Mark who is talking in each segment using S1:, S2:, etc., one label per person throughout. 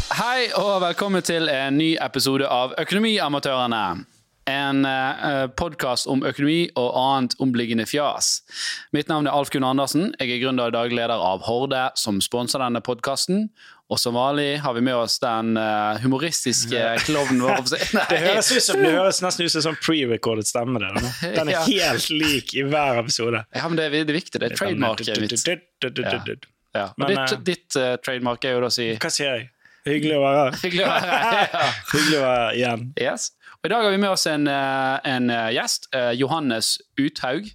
S1: og velkommen til en ny episode av Økonomiamatørene. En eh, podkast om økonomi og annet omliggende fjas. Mitt navn er Alf Gunnar Andersen. Jeg er gründer og daglig leder av Horde, som sponser denne podkasten. Og som vanlig har vi med oss den eh, humoristiske klovnen vår. Nei.
S2: Det høres, ut som, det høres nesten ut som en sånn pre-recorded stemme. Det, da. den er
S1: Ja.
S2: helt lik i hver episode.
S1: Ja, men det er, det er viktig. Det er trademarket mitt. Ja. Og
S2: Men,
S1: ditt,
S2: eh,
S1: ditt eh, trademark er jo da å si
S2: Hva sier jeg? Hyggelig å være her.
S1: Hyggelig å være her. Ja.
S2: Hyggelig å være igjen.
S1: Yes. Og I dag har vi med oss en, eh, en eh, gjest, eh, Johannes Uthaug,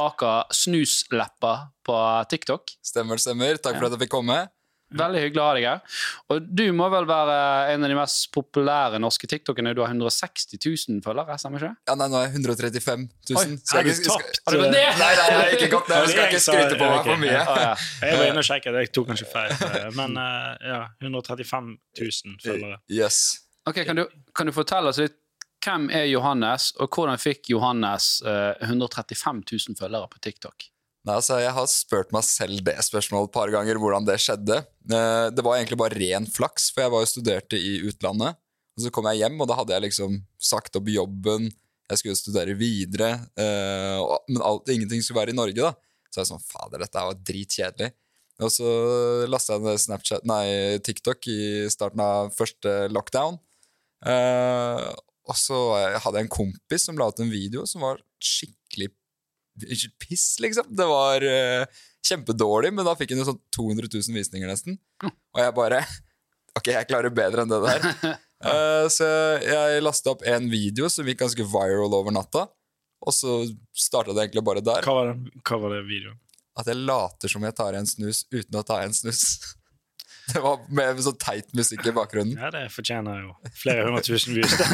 S1: aka Snusleppa på TikTok.
S3: Stemmer, stemmer. Takk for at jeg fikk komme.
S1: Veldig hyggelig å ha deg her. Og du må vel være en av de mest populære norske TikTokene. Du har 160 000 følgere, stemmer ikke det?
S3: Ja, nei, nå er jeg 135 000.
S1: Oi,
S3: så jeg-
S2: er du
S3: skal-
S2: tapt? eh,
S1: Har du gått
S3: Nei,
S1: ned?
S3: nei, nei, jeg er ikke godt.
S2: Ja,
S3: Jeg
S2: det
S3: skal
S2: er jeg
S3: ikke
S2: som-
S3: skryte på
S2: ja,
S3: meg for
S2: ok.
S3: mye.
S1: Å, ja.
S2: Jeg var inne og sjekket, jeg tok kanskje feil. eh, Men eh, ja, 135 000 følgere.
S3: Yes.
S1: Ok, kan du, kan du fortelle oss litt hvem er Johannes, og hvordan fikk Johannes eh, 135 000 følgere på TikTok?
S3: Nei, altså, jeg har spurt meg selv det spørsmålet et par ganger, hvordan det skjedde. Eh, Det var egentlig bare ren flaks, for jeg var jo studerte i utlandet. Og så kom jeg hjem, og da hadde jeg liksom sagt opp jobben, jeg skulle studere videre, eh, og, men alt, ingenting skulle være i Norge, da. Så jeg sånn, fader, dette her var dritkjedelig. Og så lastet jeg ned Snapchat, nei, TikTok i starten av første lockdown. Eh, og så hadde jeg en kompis som la ut en video som var skikkelig Unnskyld, piss, liksom. Det var eh, kjempedårlig, men da fikk han jo sånn 200 000 visninger nesten. Og jeg bare Ok, jeg klarer bedre enn det der. Eh, så jeg lasta opp en video som gikk ganske viral over natta. Og så starta det egentlig bare der.
S2: Hva var det, hva var det videoen?
S3: At jeg later som jeg tar en snus uten å ta en snus. Det var med sånn teit musikk i bakgrunnen.
S2: Ja, det fortjener jo flere hundre tusen views. Det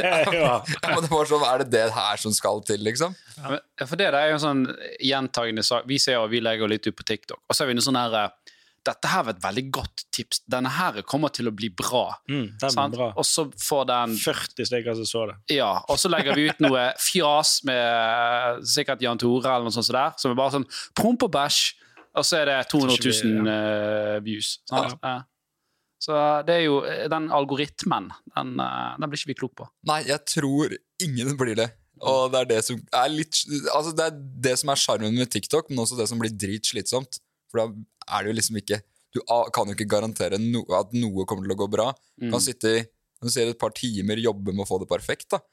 S2: er jo-
S3: Og det var sånn, Er det det her som skal til, liksom?
S1: Ja, men- ja, For det der er jo en sånn gjentagende sak. Vi ser og vi legger litt ut på TikTok, og så er vi inne sånn her eh, Dette her var et veldig godt tips. Denne her kommer til å bli bra.
S2: Mm, den var
S1: sant?
S2: bra.
S1: Og så får den
S2: 40 stykker som så det.
S1: Ja, og så legger vi ut noe fjas med eh, sikkert Jan Tore eller noe sånt som der, som er bare sånn promp og bæsj, og så er det 200 000 eh, views. Sant? Ja. Så det er jo eh, Den algoritmen, den, eh, den blir ikke vi klok på.
S3: Nei, jeg tror ingen blir det. Og det er det som er litt Altså, det er det som er sjarmen med TikTok, men også det som blir dritslitsomt. For da er det jo liksom ikke Du a- kan jo ikke garantere no, at noe kommer til å gå bra. Du
S1: Mm.
S3: kan sitte i kan si, et par timer, jobbe med å få det perfekt, da.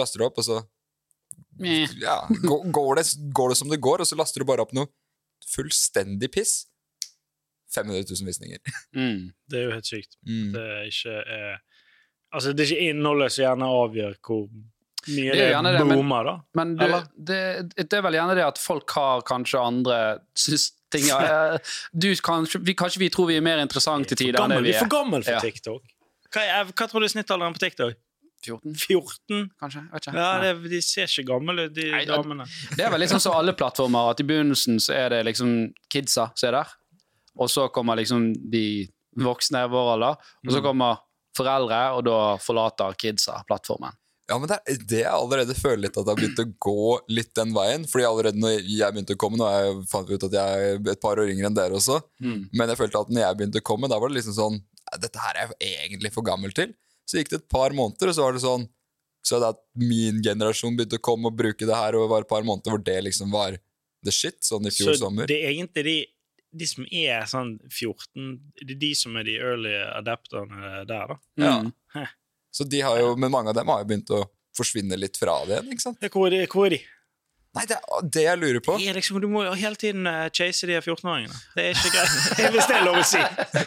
S3: Laster du opp, og så
S1: Meh.
S3: ja, går, går, det, går det som det går, og så laster du bare opp noe fullstendig piss. 500 000 visninger.
S1: Mm.
S2: Det er jo helt sykt.
S3: Mm.
S2: det er ikke er Altså, det er ikke innholdet som gjerne avgjør hvor mye
S1: er
S2: det,
S1: gjerne det, men-
S2: boomer, da.
S1: Men du,
S2: Eller?
S1: det, det er vel gjerne det at folk har kanskje andre syns ting ja. Eh, du, kanskje, vi, kanskje vi tror vi er mer interessante til
S2: For
S1: tider enn det
S2: gammel, vi
S1: vi
S2: er
S1: er.
S2: for gammel for
S1: Ja.
S2: TikTok. Hva, er, hva tror du er snittalderen på TikTok?
S1: 14,
S2: 14?
S1: kanskje? Jeg Vet ikke.
S2: Ja,
S1: Nei.
S2: det, De ser ikke gamle ut, de
S1: Nei, ja.
S2: damene.
S1: det er vel liksom så alle plattformer at i begynnelsen så er det liksom kidsa som er der, og så kommer liksom de voksne i vår alder, og
S2: Mm.
S1: så kommer foreldre, og da forlater kidsa plattformen.
S3: Ja, men det er det jeg allerede føler litt at det har begynt å gå litt den veien. Fordi allerede når jeg begynte å komme, nå er jeg- fant vi ut at jeg er et par år yngre enn dere også,
S2: Mm.
S3: men jeg følte at når jeg begynte å komme, da var det liksom sånn "Nei, Dette her er jeg egentlig for gammel til. Så gikk det et par måneder, og så var det sånn Så det at min generasjon begynte å komme og bruke det her, og det var et par måneder hvor det liksom var the shit, sånn i fjor
S2: Så
S3: sommer.
S2: det er egentlig de, de som er sånn 14, det er de som er de early adapterne der, da.
S3: Ja.
S1: Mm.
S3: Så de har jo, men mange av dem har jo begynt å forsvinne litt fra det igjen, ikke sant?
S2: Ja, Hvor er de? Hvor er de?
S3: Nei, det er det jeg lurer på.
S2: Det er liksom, du må jo hele tiden eh, chase de 14-åringene. Det er ikke greit. Hvis det er lov å si.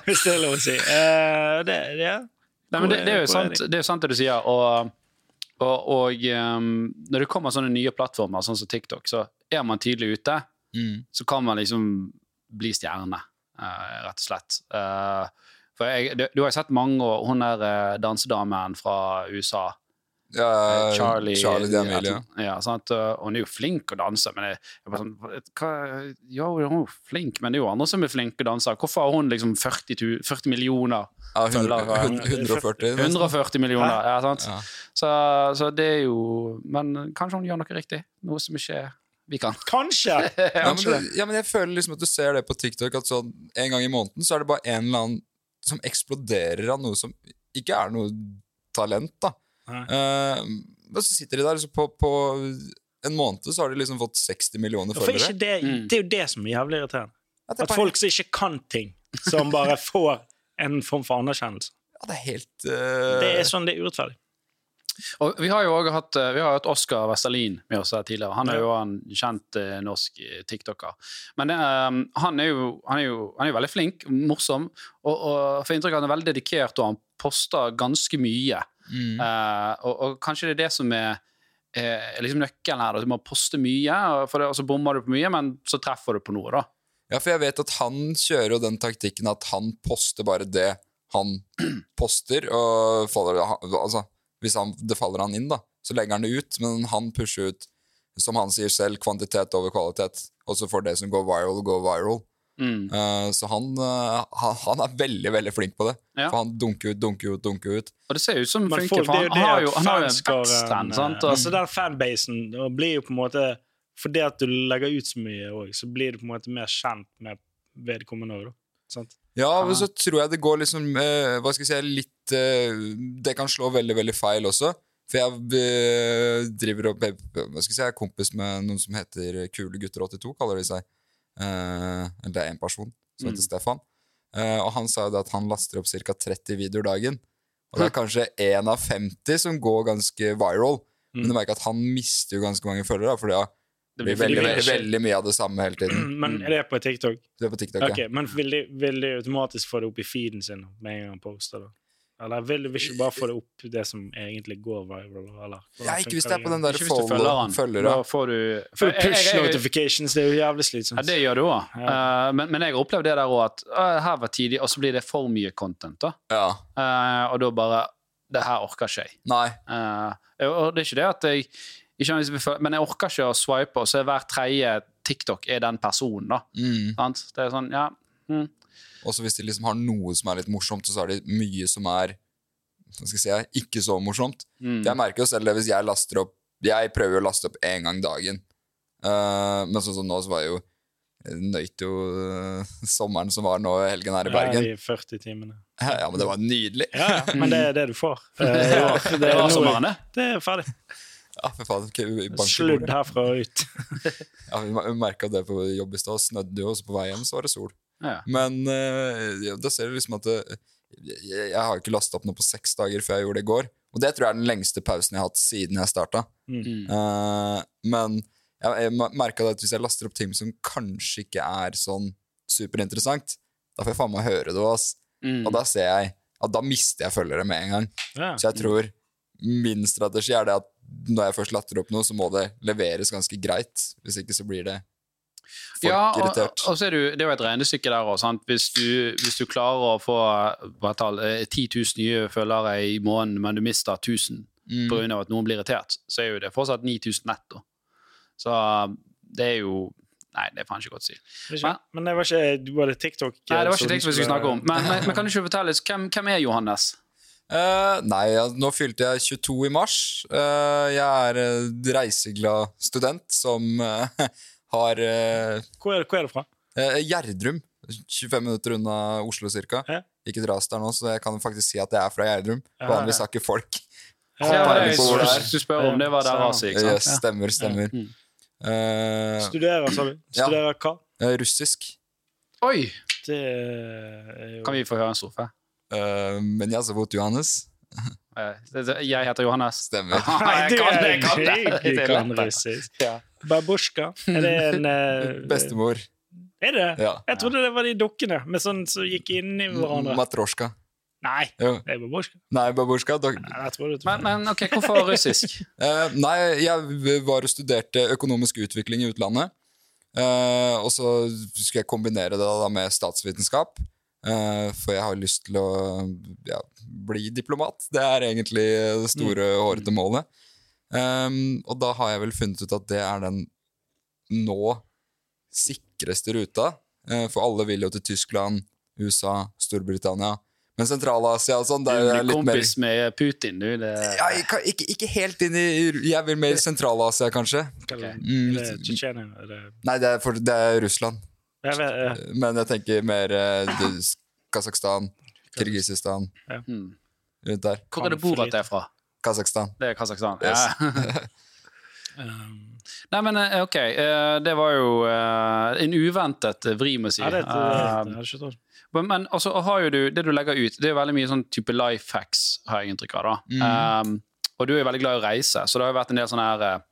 S2: Hvis det er lov å si. Eh, det, det, er-
S1: Nei, men det, det, er jo
S2: Hvor er de?
S1: sant, det er jo sant det du sier. Og, og, og ehm, når det kommer sånne nye plattformer, sånn som TikTok, så er man tidlig ute,
S3: Mm.
S1: så kan man liksom bli stjerne, eh, rett og slett. Eh, for jeg, du, du har jo sett mange, og hun der eh, dansedamen fra USA,
S3: Ja,
S1: eh, Charlie,
S3: Charlie D'Amelio.
S1: Ja, sant? eh, Og hun er jo flink å danse, men jeg, jeg bare sånn hva, Ja, hun er jo flink, men det er jo andre som er flinke å danse. Hvorfor har hun liksom 40, tu- 40 millioner?
S3: Ja, 100,
S1: Følger, ja.
S3: 140. nesten.
S1: 140 millioner, ja, sant?
S3: Ja.
S1: Så, så det er jo Men kanskje hun gjør noe riktig? Noe som ikke vi kan.
S2: Kanskje!
S3: Ja, men, det, ja, men jeg føler liksom at du ser det på TikTok, at sånn, en gang i måneden så er det bare en eller annen som eksploderer av noe som ikke er noe talent, da.
S2: Nei.
S3: Eh, Men så sitter de der, så på, på en måned så har de liksom fått 60 millioner
S2: For ikke
S3: følgere.
S2: det,
S1: Mm.
S2: det er jo det som er jævlig irriterende.
S3: Ja, det, er
S2: At
S3: bare-
S2: folk som ikke kan ting, som bare får en form for anerkjennelse.
S3: ja, det er helt eh,
S2: Det er sånn det er urettferdig.
S1: Og vi har jo også hatt, eh, vi har jo hatt Oskar Vestalin med oss her tidligere. Han er jo en kjent eh, norsk eh, tiktoker. Men det, eh, han, er jo, han, er jo, han er jo veldig flink, morsom, og, og får inntrykk av at han er veldig dedikert, og han poster ganske mye.
S3: mm.
S1: Eh, og, og kanskje det er det som er eh, liksom nøkkelen her, at du må poste mye, og for det, og så bommer du på mye, men så treffer du på noe, da.
S3: Ja, for jeg vet at han kjører jo den taktikken at han poster bare det han poster, og faller, altså, hvis han, det faller han inn, da, så legger han det ut, men han pusher ut, som han sier selv, kvantitet over kvalitet, og så får det som går viral, gå viral.
S1: Mm.
S3: Eh, så han, eh, han, han er veldig, veldig flink på det,
S1: Ja.
S3: for han dunker ut, dunker ut, dunker ut.
S1: Og det ser ut som
S2: Men
S1: funker,
S2: folk-
S1: for han,
S2: det er
S1: har
S2: det
S1: jo,
S2: at
S1: han har jo
S2: fans
S1: en
S2: skal,
S1: backstand,
S2: eh,
S1: sant?
S2: Altså, den fanbasen da blir jo på en måte Fordi at du legger ut så mye òg, så blir du på en måte mer kjent med vedkommende òg, da. Sant?
S3: Ja, men
S1: Ah.
S3: så tror jeg det går liksom eh, Hva skal jeg si Litt eh, Det kan slå veldig, veldig feil også. For jeg eh, driver og Hva skal jeg si Jeg er kompis med noen som heter Kule gutter 82, kaller de seg. Eh, eller det er en person som heter
S1: Mm.
S3: Stefan. Eh, og han sa jo det at han laster opp ca. 30 videoer dagen. Og det er kanskje én av 50 som går ganske viral.
S2: Mm.
S3: Men du merker at han mister jo ganske mange følgere. da, For det
S1: Det
S3: blir
S1: for
S3: veldig,
S1: mye.
S3: veldig, veldig mye av det samme hele tiden.
S2: Men er det på TikTok?
S3: Det er på TikTok. ja.
S2: Mm. Ok, Men vil de, vil de automatisk få det opp i feeden sin med en gang han poster? da? Eller vil de ikke bare få det opp det som egentlig går viral? Eller,
S3: Ja, ikke hvis det er på den der
S1: Ikke hvis du følger han.
S3: follow-følgere.
S1: Da får du
S2: For
S1: Jeg- jeg- jeg-
S2: push notifications, det er jo jævlig
S1: Ja,
S2: slitsomt.
S1: det gjør du òg. Eh, men, men jeg har opplevd det der òg, at eh, her var tidlig, og så blir det for mye content. da.
S3: Ja.
S1: Eh, og da bare Det her orker ikke jeg.
S3: Nei.
S1: Eh, og det er ikke det at jeg ikke har lyst til å bli føl- Men jeg orker ikke å swipe, og så er hver tredje TikTok er den personen, da.
S3: Mm.
S1: Sant? Det er sånn, ja. Mm.
S3: Også hvis de liksom har noe som er litt morsomt, så har de mye som er hva skal jeg si, ikke så morsomt.
S1: Mm.
S3: Jeg merker jo selv det hvis jeg laster opp Jeg prøver jo å laste opp én gang dagen. Eh, men sånn som nå, så var jeg jo jeg Nøyt jo eh, sommeren som var nå i helgen her i Bergen.
S2: Ja, de 40 timene.
S3: Ja, men det var nydelig!
S2: Ja, ja, men det er det du får. Eh, i år.
S1: Det var
S2: nå-
S1: sommeren, det.
S2: det er ferdig.
S3: Ja, for faen, ok, vi banker
S2: Sludd
S3: bordet.
S2: herfra og ut.
S3: Ja, vi mer- vi merka det på jobb i stad. Snødde jo, og så på vei hjem så var det sol.
S1: Ja.
S3: Men eh, ja, da ser du liksom at det, jeg, jeg har ikke lasta opp noe på seks dager før jeg gjorde det i går. Og det tror jeg er den lengste pausen jeg har hatt siden jeg starta.
S1: Mm.
S3: men jeg, jeg merka at hvis jeg laster opp ting som kanskje ikke er sånn superinteressant, da får jeg faen meg høre det. Ass.
S1: Mm.
S3: Og da ser jeg at da mister jeg følgere med en gang.
S2: Ja.
S3: Så jeg tror min strategi er det at når jeg først latter opp noe, så må det leveres ganske greit. Hvis ikke så blir det folk
S1: Ja, og,
S3: irritert.
S1: og så er det, jo, det er jo et regnestykke der òg. Hvis, du- hvis du klarer å få hva er tall, eh, 10 000 nye følgere i måneden, men du mister 1000
S3: Mm.
S1: på grunn av at noen blir irritert, så er jo det fortsatt 9000 netto. Så det er jo Nei, det er faen ikke godt å si.
S2: Men, men det var ikke du var det TikTok?
S1: Nei, det var ikke det vi skulle snakke om. Men, men, men kan du ikke fortelle oss, hvem, hvem er Johannes?
S3: Eh, nei, ja, nå fylte jeg 22 i mars. Eh, jeg er eh, reiseglad student som eh, har eh,
S2: Hvor er, hvor er det fra?
S3: eh, Gjerdrum. 25 minutter unna Oslo ca.
S2: Ja.
S3: Ikke dras der nå, så jeg kan faktisk si at jeg er fra Gjerdrum.
S2: Ja, ja.
S3: Vanligvis har ikke folk
S1: Ja, det var det jeg
S3: på hvor det er.
S1: skulle- skulle spørre om. Det var der Asi, ikke
S3: Eh,
S1: sant? Ja.
S3: Stemmer, stemmer.
S1: Mm.
S3: Eh,
S2: Studerer, sa du?
S3: Ja.
S2: Studerer hva?
S3: eh, russisk.
S1: Oi!
S2: Det er jo
S1: Kan vi få høre en strofe?
S3: Eh, men jeg ser mot Johannes.
S1: Eh, det- det- Jeg heter Johannes.
S3: Stemmer.
S2: Nei, du
S1: Jeg kan
S2: er
S1: det, jeg kan det.
S2: ikke-
S1: Det er
S2: kan
S1: lett, det.
S2: russisk.
S1: Ja.
S2: Babusjka. Er det en eh,
S3: Bestemor.
S2: Er det?
S3: Ja.
S2: Jeg trodde det var de dukkene med sånn som gikk inn i hverandre.
S3: Matrosjka.
S2: Nei,
S3: Jo.
S2: det er babusjka.
S3: Nei, babusjka. dok-
S2: Nei, jeg trodde det
S1: Men,
S2: var
S1: men ok, hvorfor russisk?
S3: Eh, nei, jeg var og studerte økonomisk utvikling i utlandet. Eh, og så skulle jeg kombinere det da med statsvitenskap. eh, for jeg har lyst til å ja, bli diplomat. Det er egentlig det store, hårete målet. Ehm, og da har jeg vel funnet ut at det er den nå sikreste ruta. eh, for alle vil jo til Tyskland, USA, Storbritannia. Men Sentral-Asia og sånn,
S1: Du
S3: det
S1: blir
S3: er jo litt mer
S1: kompis med Putin, du. Det,
S3: ja, jeg kan- ikke, ikke helt inn i Jeg vil mer i Sentral-Asia, kanskje.
S2: okay.
S3: Mm,
S2: Er det Tsjetsjenia? Er det
S3: nei, det er, for, det er Russland.
S2: Jeg vet, eh,
S3: Men jeg tenker mer eh, det- Kasakhstan, Kirgisistan,
S1: Mm.
S3: rundt der.
S1: Hvor er det Borat er fra?
S3: Kasakhstan.
S1: Det er Kasakhstan.
S3: Yes.
S1: Ja.
S2: Um,
S1: Nei, men eh, ok, eh, det var jo eh, en uventet eh, vri, må jeg si.
S2: ja, det, det, det,
S1: Eh,
S2: hadde jeg ikke trodd.
S1: Men, men altså, har jo du, det du legger ut, det er jo veldig mye sånn type life hacks, har jeg inntrykk av. da.
S3: Mm.
S1: Um, og du er jo veldig glad i å reise, så det har jo vært en del sånne her eh,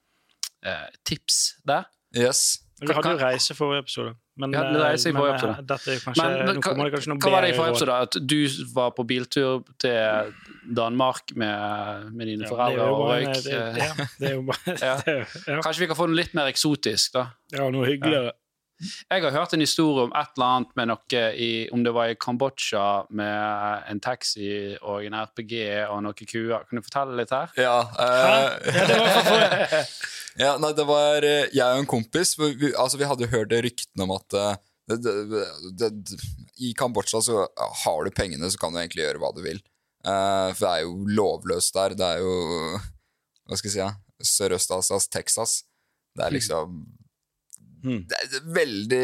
S1: eh, tips der.
S3: Yes.
S2: Men Vi
S1: Hva-
S2: hadde jo
S1: hva-
S2: reise i forrige episode. Men,
S1: Vi hadde
S2: eh,
S1: reise i
S2: men,
S1: forrige
S2: eh,
S1: episode.
S2: Dette er jo kanskje,
S1: Men, men
S2: nå
S1: hva-
S2: kommer det kanskje noe
S1: Hva var det i
S2: bedre
S1: forrige
S2: råd.
S1: episode? da? At du var på biltur til Danmark med, med dine
S2: Ja, det er
S1: foreldre
S2: jo
S1: og
S2: bare en-
S1: røyk?
S2: det-
S1: eh,
S2: Ja, det er jo bare
S1: Ja.
S2: det er jo- ja.
S1: Kanskje vi kan få noe litt mer eksotisk, da?
S2: Ja, noe hyggeligere.
S1: Jeg har hørt en historie om et eller annet med noe i, om det var i Kambodsja med en taxi og en RPG og noen kuer. Kan du fortelle litt her?
S3: Ja, eh,
S2: Ja, det var for forrige.
S3: ja, nei, det var eh, jeg og en kompis vi, vi- altså, vi hadde jo hørt ryktene om at eh, det, det, det, det, I Kambodsja så har du pengene, så kan du egentlig gjøre hva du vil. Eh, for det er jo lovløst der. Det er jo Hva skal jeg si? Ja? Sørøst-Asias Texas. Det er liksom
S2: Mm.
S3: Det er veldig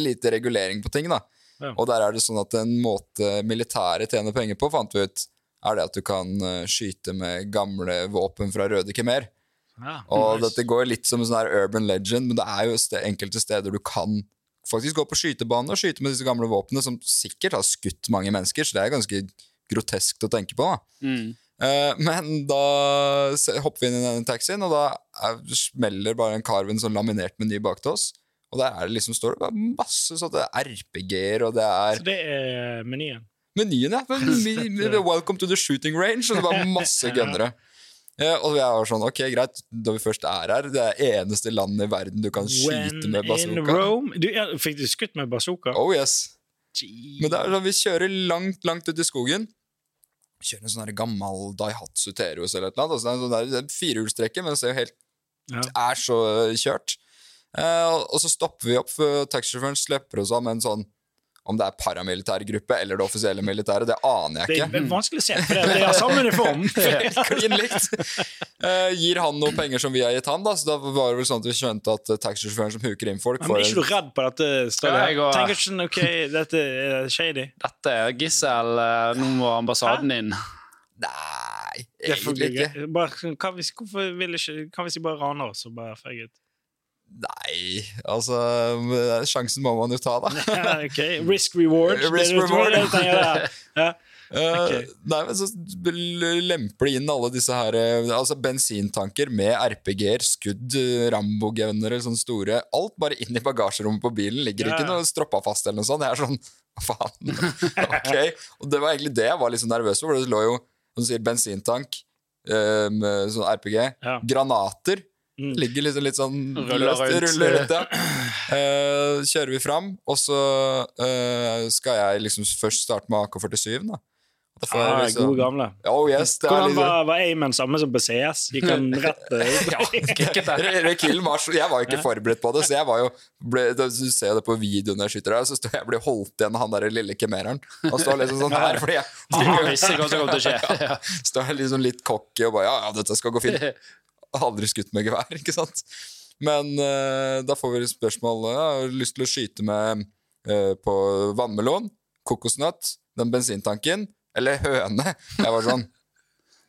S3: lite regulering på ting, da.
S2: Ja.
S3: Og der er det sånn at en måte militæret tjener penger på, fant vi ut, er det at du kan eh, skyte med gamle våpen fra Røde Khmer.
S2: Ja,
S1: Ah.
S3: Og
S2: nice.
S3: dette går litt som en sånn her urban legend, men det er jo ste enkelte steder du kan faktisk gå på skytebane og skyte med disse gamle våpnene, som sikkert har skutt mange mennesker, så det er ganske grotesk å tenke på. da.
S1: Mm.
S3: Eh, men da se- hopper vi inn i denne taxien, og da er, smeller bare en kar ved en sånn laminert meny bak til oss. Og der er det liksom, står det bare masse sånne RPG-er, og det er
S2: Så det er menyen.
S3: menyen, ja. Men, men- men- welcome to the shooting range, og det var masse gunnere. Eh, og jeg var sånn, ok, greit, da vi først er her, det er eneste landet i verden du kan skyte med
S2: in
S3: Oh, bazooka.
S2: Rome du, ja, Fikk du skutt med bazooka?
S3: Oh yes.
S2: Gee.
S3: Men det er sånn, vi kjører langt, langt ut i skogen. Vi kjører en sånn her gammel Daihatsu Terios eller et eller annet. Altså, det er en sånn der- det er en firehjulstrekker, men det ser jo helt
S2: Ja.
S3: er så øh, kjørt. Eh, og- og så stopper vi opp, for taxisjåføren slipper oss av med en sånn om det er paramilitær gruppe eller det offisielle militæret, det aner
S2: Det
S3: jeg ikke.
S1: Hmm.
S2: er vanskelig å se, for det- de har samme uniform.
S3: Klin likt. Eh, gir han noen penger som vi har gitt han, da? Så da var det vel sånn at vi skjønte at eh, taxisjåføren som huker inn folk,
S2: Men er
S3: får
S2: ikke du
S3: en
S2: redd på dette stedet?
S1: Ja, jeg går-
S2: Tenker ikke sånn, ok, dette er shady.
S1: Dette er Gissel, eh, nå må ambassaden inn.
S3: Nei,
S2: Det er for
S3: egentlig ikke.
S2: gøy. Bare, sånn, kan, vi, hvorfor vil ikke, kan vi ikke bare rane oss og bare fegge ut?
S3: Nei, altså men Sjansen må man jo ta, da.
S2: Ja, ok, Risk reward. Det er
S3: Risk
S2: det du tror,
S3: reward.
S2: det tenker jeg, ja.
S3: Eh,
S2: Ok.
S3: Nei, men så l- lemper de inn alle disse her eh, Altså bensintanker med RPG-er, skudd, eh, Rambo-gunnere, sånne store. Alt bare inn i bagasjerommet på bilen. Ligger
S2: Ja,
S3: ikke
S2: ja.
S3: noe stroppa fast eller noe sånt. Jeg er sånn Faen. ok. Og det var egentlig det jeg var litt sånn nervøs for, for det lå jo, som du sier, bensintank eh, med sånn RPG.
S2: Ja.
S3: Granater.
S2: Mm.
S3: Ligger liksom litt sånn
S1: Ruller
S3: løst,
S1: rundt.
S3: Ruller rundt ja. Eh, kjører vi fram, og så eh, skal jeg liksom først starte med AK-47, da. Da får jeg
S2: Ah,
S3: liksom-
S2: gode gamle.
S3: Oh yes, det er
S2: Hvordan
S3: litt
S2: var, var aimen samme som på CS? Gikk han rett eh, ut?
S3: Re- Rekillen var så Jeg var jo ikke forberedt på det, så jeg var jo ble, da- Du ser jo det på videoen jeg skyter der, så står jeg og blir holdt igjen av han der lille kemereren. Og står liksom sånn her, fordi jeg
S1: Han visste ikke hva som kom til å skje. Ja.
S3: står jeg liksom litt cocky og bare Ja, ja, dette skal gå fint. aldri skutt med gevær, ikke sant? Men eh, da får vi spørsmål ja, Har du lyst til å skyte med eh, på vannmelon, kokosnøtt, den bensintanken, eller høne? Jeg var sånn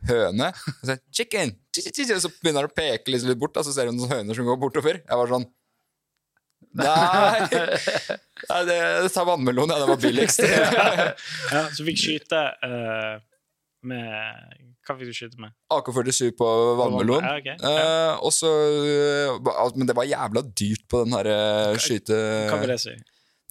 S3: Høne? Og så, Chicken! Og så begynner han å peke liksom litt bort, da, så ser hun noen høner som går bortover. Jeg var sånn Nei! Nei det, det tar vannmelon, ja. Det var billigst.
S2: Ja, så fikk skyte eh, med Hva fikk du skyte med?
S3: AK-47 på vannmelon.
S2: Ja, ok. Ja.
S3: Eh, og så eh, ba- Men det var jævla dyrt på den her eh, skyte...
S2: Hva vil det si?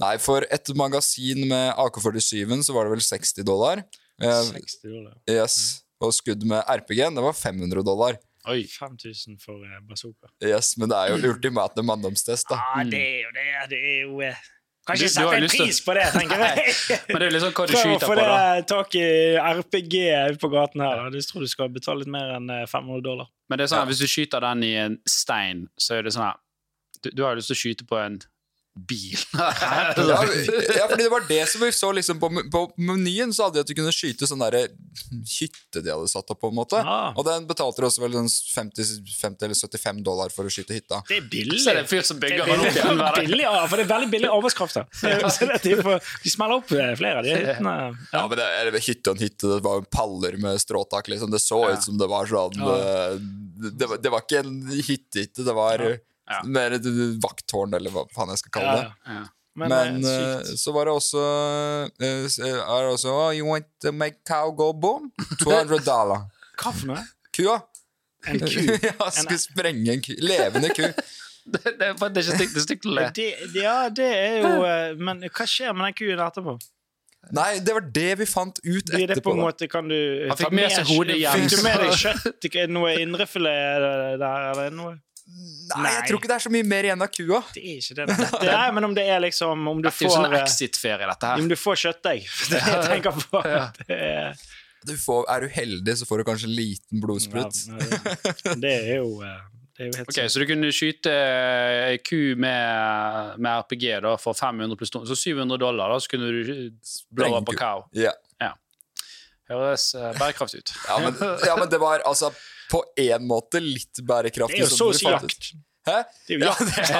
S3: Nei, for et magasin med AK-47 så var det vel 60 dollar. Eh,
S2: 60 dollar.
S3: yes. Og skudd med RPG-en, det var 500 dollar.
S1: Oi.
S2: 5000 for eh, bazooka.
S3: Yes, Men det er jo ultimate manndomstest, da.
S2: Ja, det er jo det. Det er jo eh, Kan
S1: Du- Mm. du
S2: ikke
S1: har
S2: sette en
S1: lyst til-
S2: pris på det, tenker jeg.
S1: Men det er jo liksom hva du
S2: Prøv å
S1: skyter
S2: få
S1: på,
S2: det
S1: da.
S2: tak i RPG ute på gaten her. da. Jeg tror du skal betale litt mer enn eh, 500 dollar.
S1: Men det er sånn, at hvis du skyter den i en stein, så er det sånn her du, du har jo lyst til å skyte på en bil.
S3: Ja, ja, fordi det var det som vi så liksom på, på menyen, så hadde de at du kunne skyte sånn derre hytte de hadde satt opp, på en måte.
S2: Ah.
S3: Og den betalte de også vel sånn 50, 50 eller 75 dollar for å skyte hytta.
S2: Det er billig.
S1: Så er det en fyr som
S2: Det
S1: bygger
S2: er
S1: han opp
S2: billig,
S1: igjen hver dag.
S2: billig, ja, for det er veldig billig arbeidskraft. da. Så det er typ, De smeller opp eh, flere av de hyttene.
S3: Ja, men det, eller, Hytte og en hytte, det var jo paller med stråtak, liksom. Det så ut som det var sånn eh, det, var- det var ikke en hyttehytte, det var eh,
S1: Ja.
S3: mer et vakttårn, eller hva faen jeg skal kalle
S2: Ja,
S3: det.
S2: ja.
S1: Ja.
S2: Men,
S3: Men
S2: eh,
S3: eh,
S2: sykt.
S3: så var det også eh, s- eh, er det også oh, You want to make cow go boom? 200 dollar.
S2: Hva for noe?
S3: Kua!
S2: En ku?
S3: ja, skulle sprenge en ku. Levende ku.
S1: Det, det, er- det er ikke stygt- det er stygt å le.
S2: Det, ja, det er jo eh, Men hva skjer med den kuen etterpå?
S3: Nei, det var det vi fant ut
S2: Blir det på
S3: etterpå.
S2: en
S3: da.
S2: måte, kan du eh,
S1: Han fikk
S2: ta
S1: med seg hodet hjem,
S2: Fikk du med deg
S1: så-
S2: kjøtt? Er det Noe indrefilet der, eller noe?
S3: Nei, jeg tror ikke det er så mye mer igjen av kua.
S2: Det er ikke det. da. det er, men om det er liksom Om du
S1: Det er jo
S2: får
S1: sånn
S2: eh,
S1: exit-ferie, dette her.
S2: om du får kjøttdeig. Det er det jeg tenker på. Det er,
S3: Du får, er du heldig, så får du kanskje en liten
S2: ja,
S3: blodsprut.
S2: men det er jo eh, Det er jo helt
S1: Ok, Så du kunne skyte ei ku med, med RPG da, for 500 pluss to- Så 700 dollar, da, så kunne du blå
S3: Sprenge
S1: opp på
S3: ku.
S1: cow.
S3: Ja.
S1: Høres eh, bærekraftig ut.
S3: Ja, men, ja, men det var altså på en måte litt
S2: Det er
S3: bærekraftig.
S2: jo så å
S3: som vi
S2: si
S3: fant ut.
S2: jakt.
S3: Hæ?
S2: Det er jo
S3: Ja,
S2: jakt.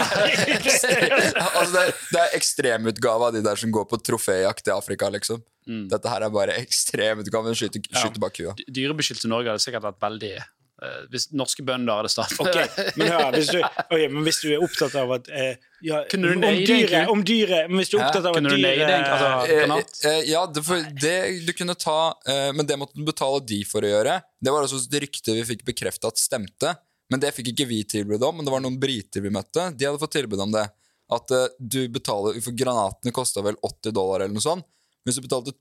S3: det altså, det, det er ekstremutgave av de der som går på troféjakt i Afrika, liksom.
S1: Mm.
S3: Dette her er bare ekstremutgave. Den skyter, skyter bare kua.
S1: D- Dyrebeskyttelse i Norge hadde sikkert vært veldig eh, Hvis norske bønder hadde startet
S2: Ok, men, hør, hvis du, ok, men hvis du er opptatt av at eh, ja,
S1: Kunne du
S2: om,
S1: neie deg,
S2: dyret,
S1: egentlig?
S2: om dyret Men hvis du er
S3: Hæ?
S2: opptatt av at
S1: Kunne du neie
S2: dyret
S1: deg, altså?
S3: Eh,
S1: Granat?
S3: eh, ja, det, for det du kunne ta eh, Men det måtte du betale de for å gjøre. Det var også et rykte vi fikk bekrefta at stemte. Men det fikk ikke vi tilbud om, men det var noen briter vi møtte. De hadde fått tilbud om det. At eh, du betaler For granatene kosta vel 80 dollar eller noe sånt. Hvis du betalte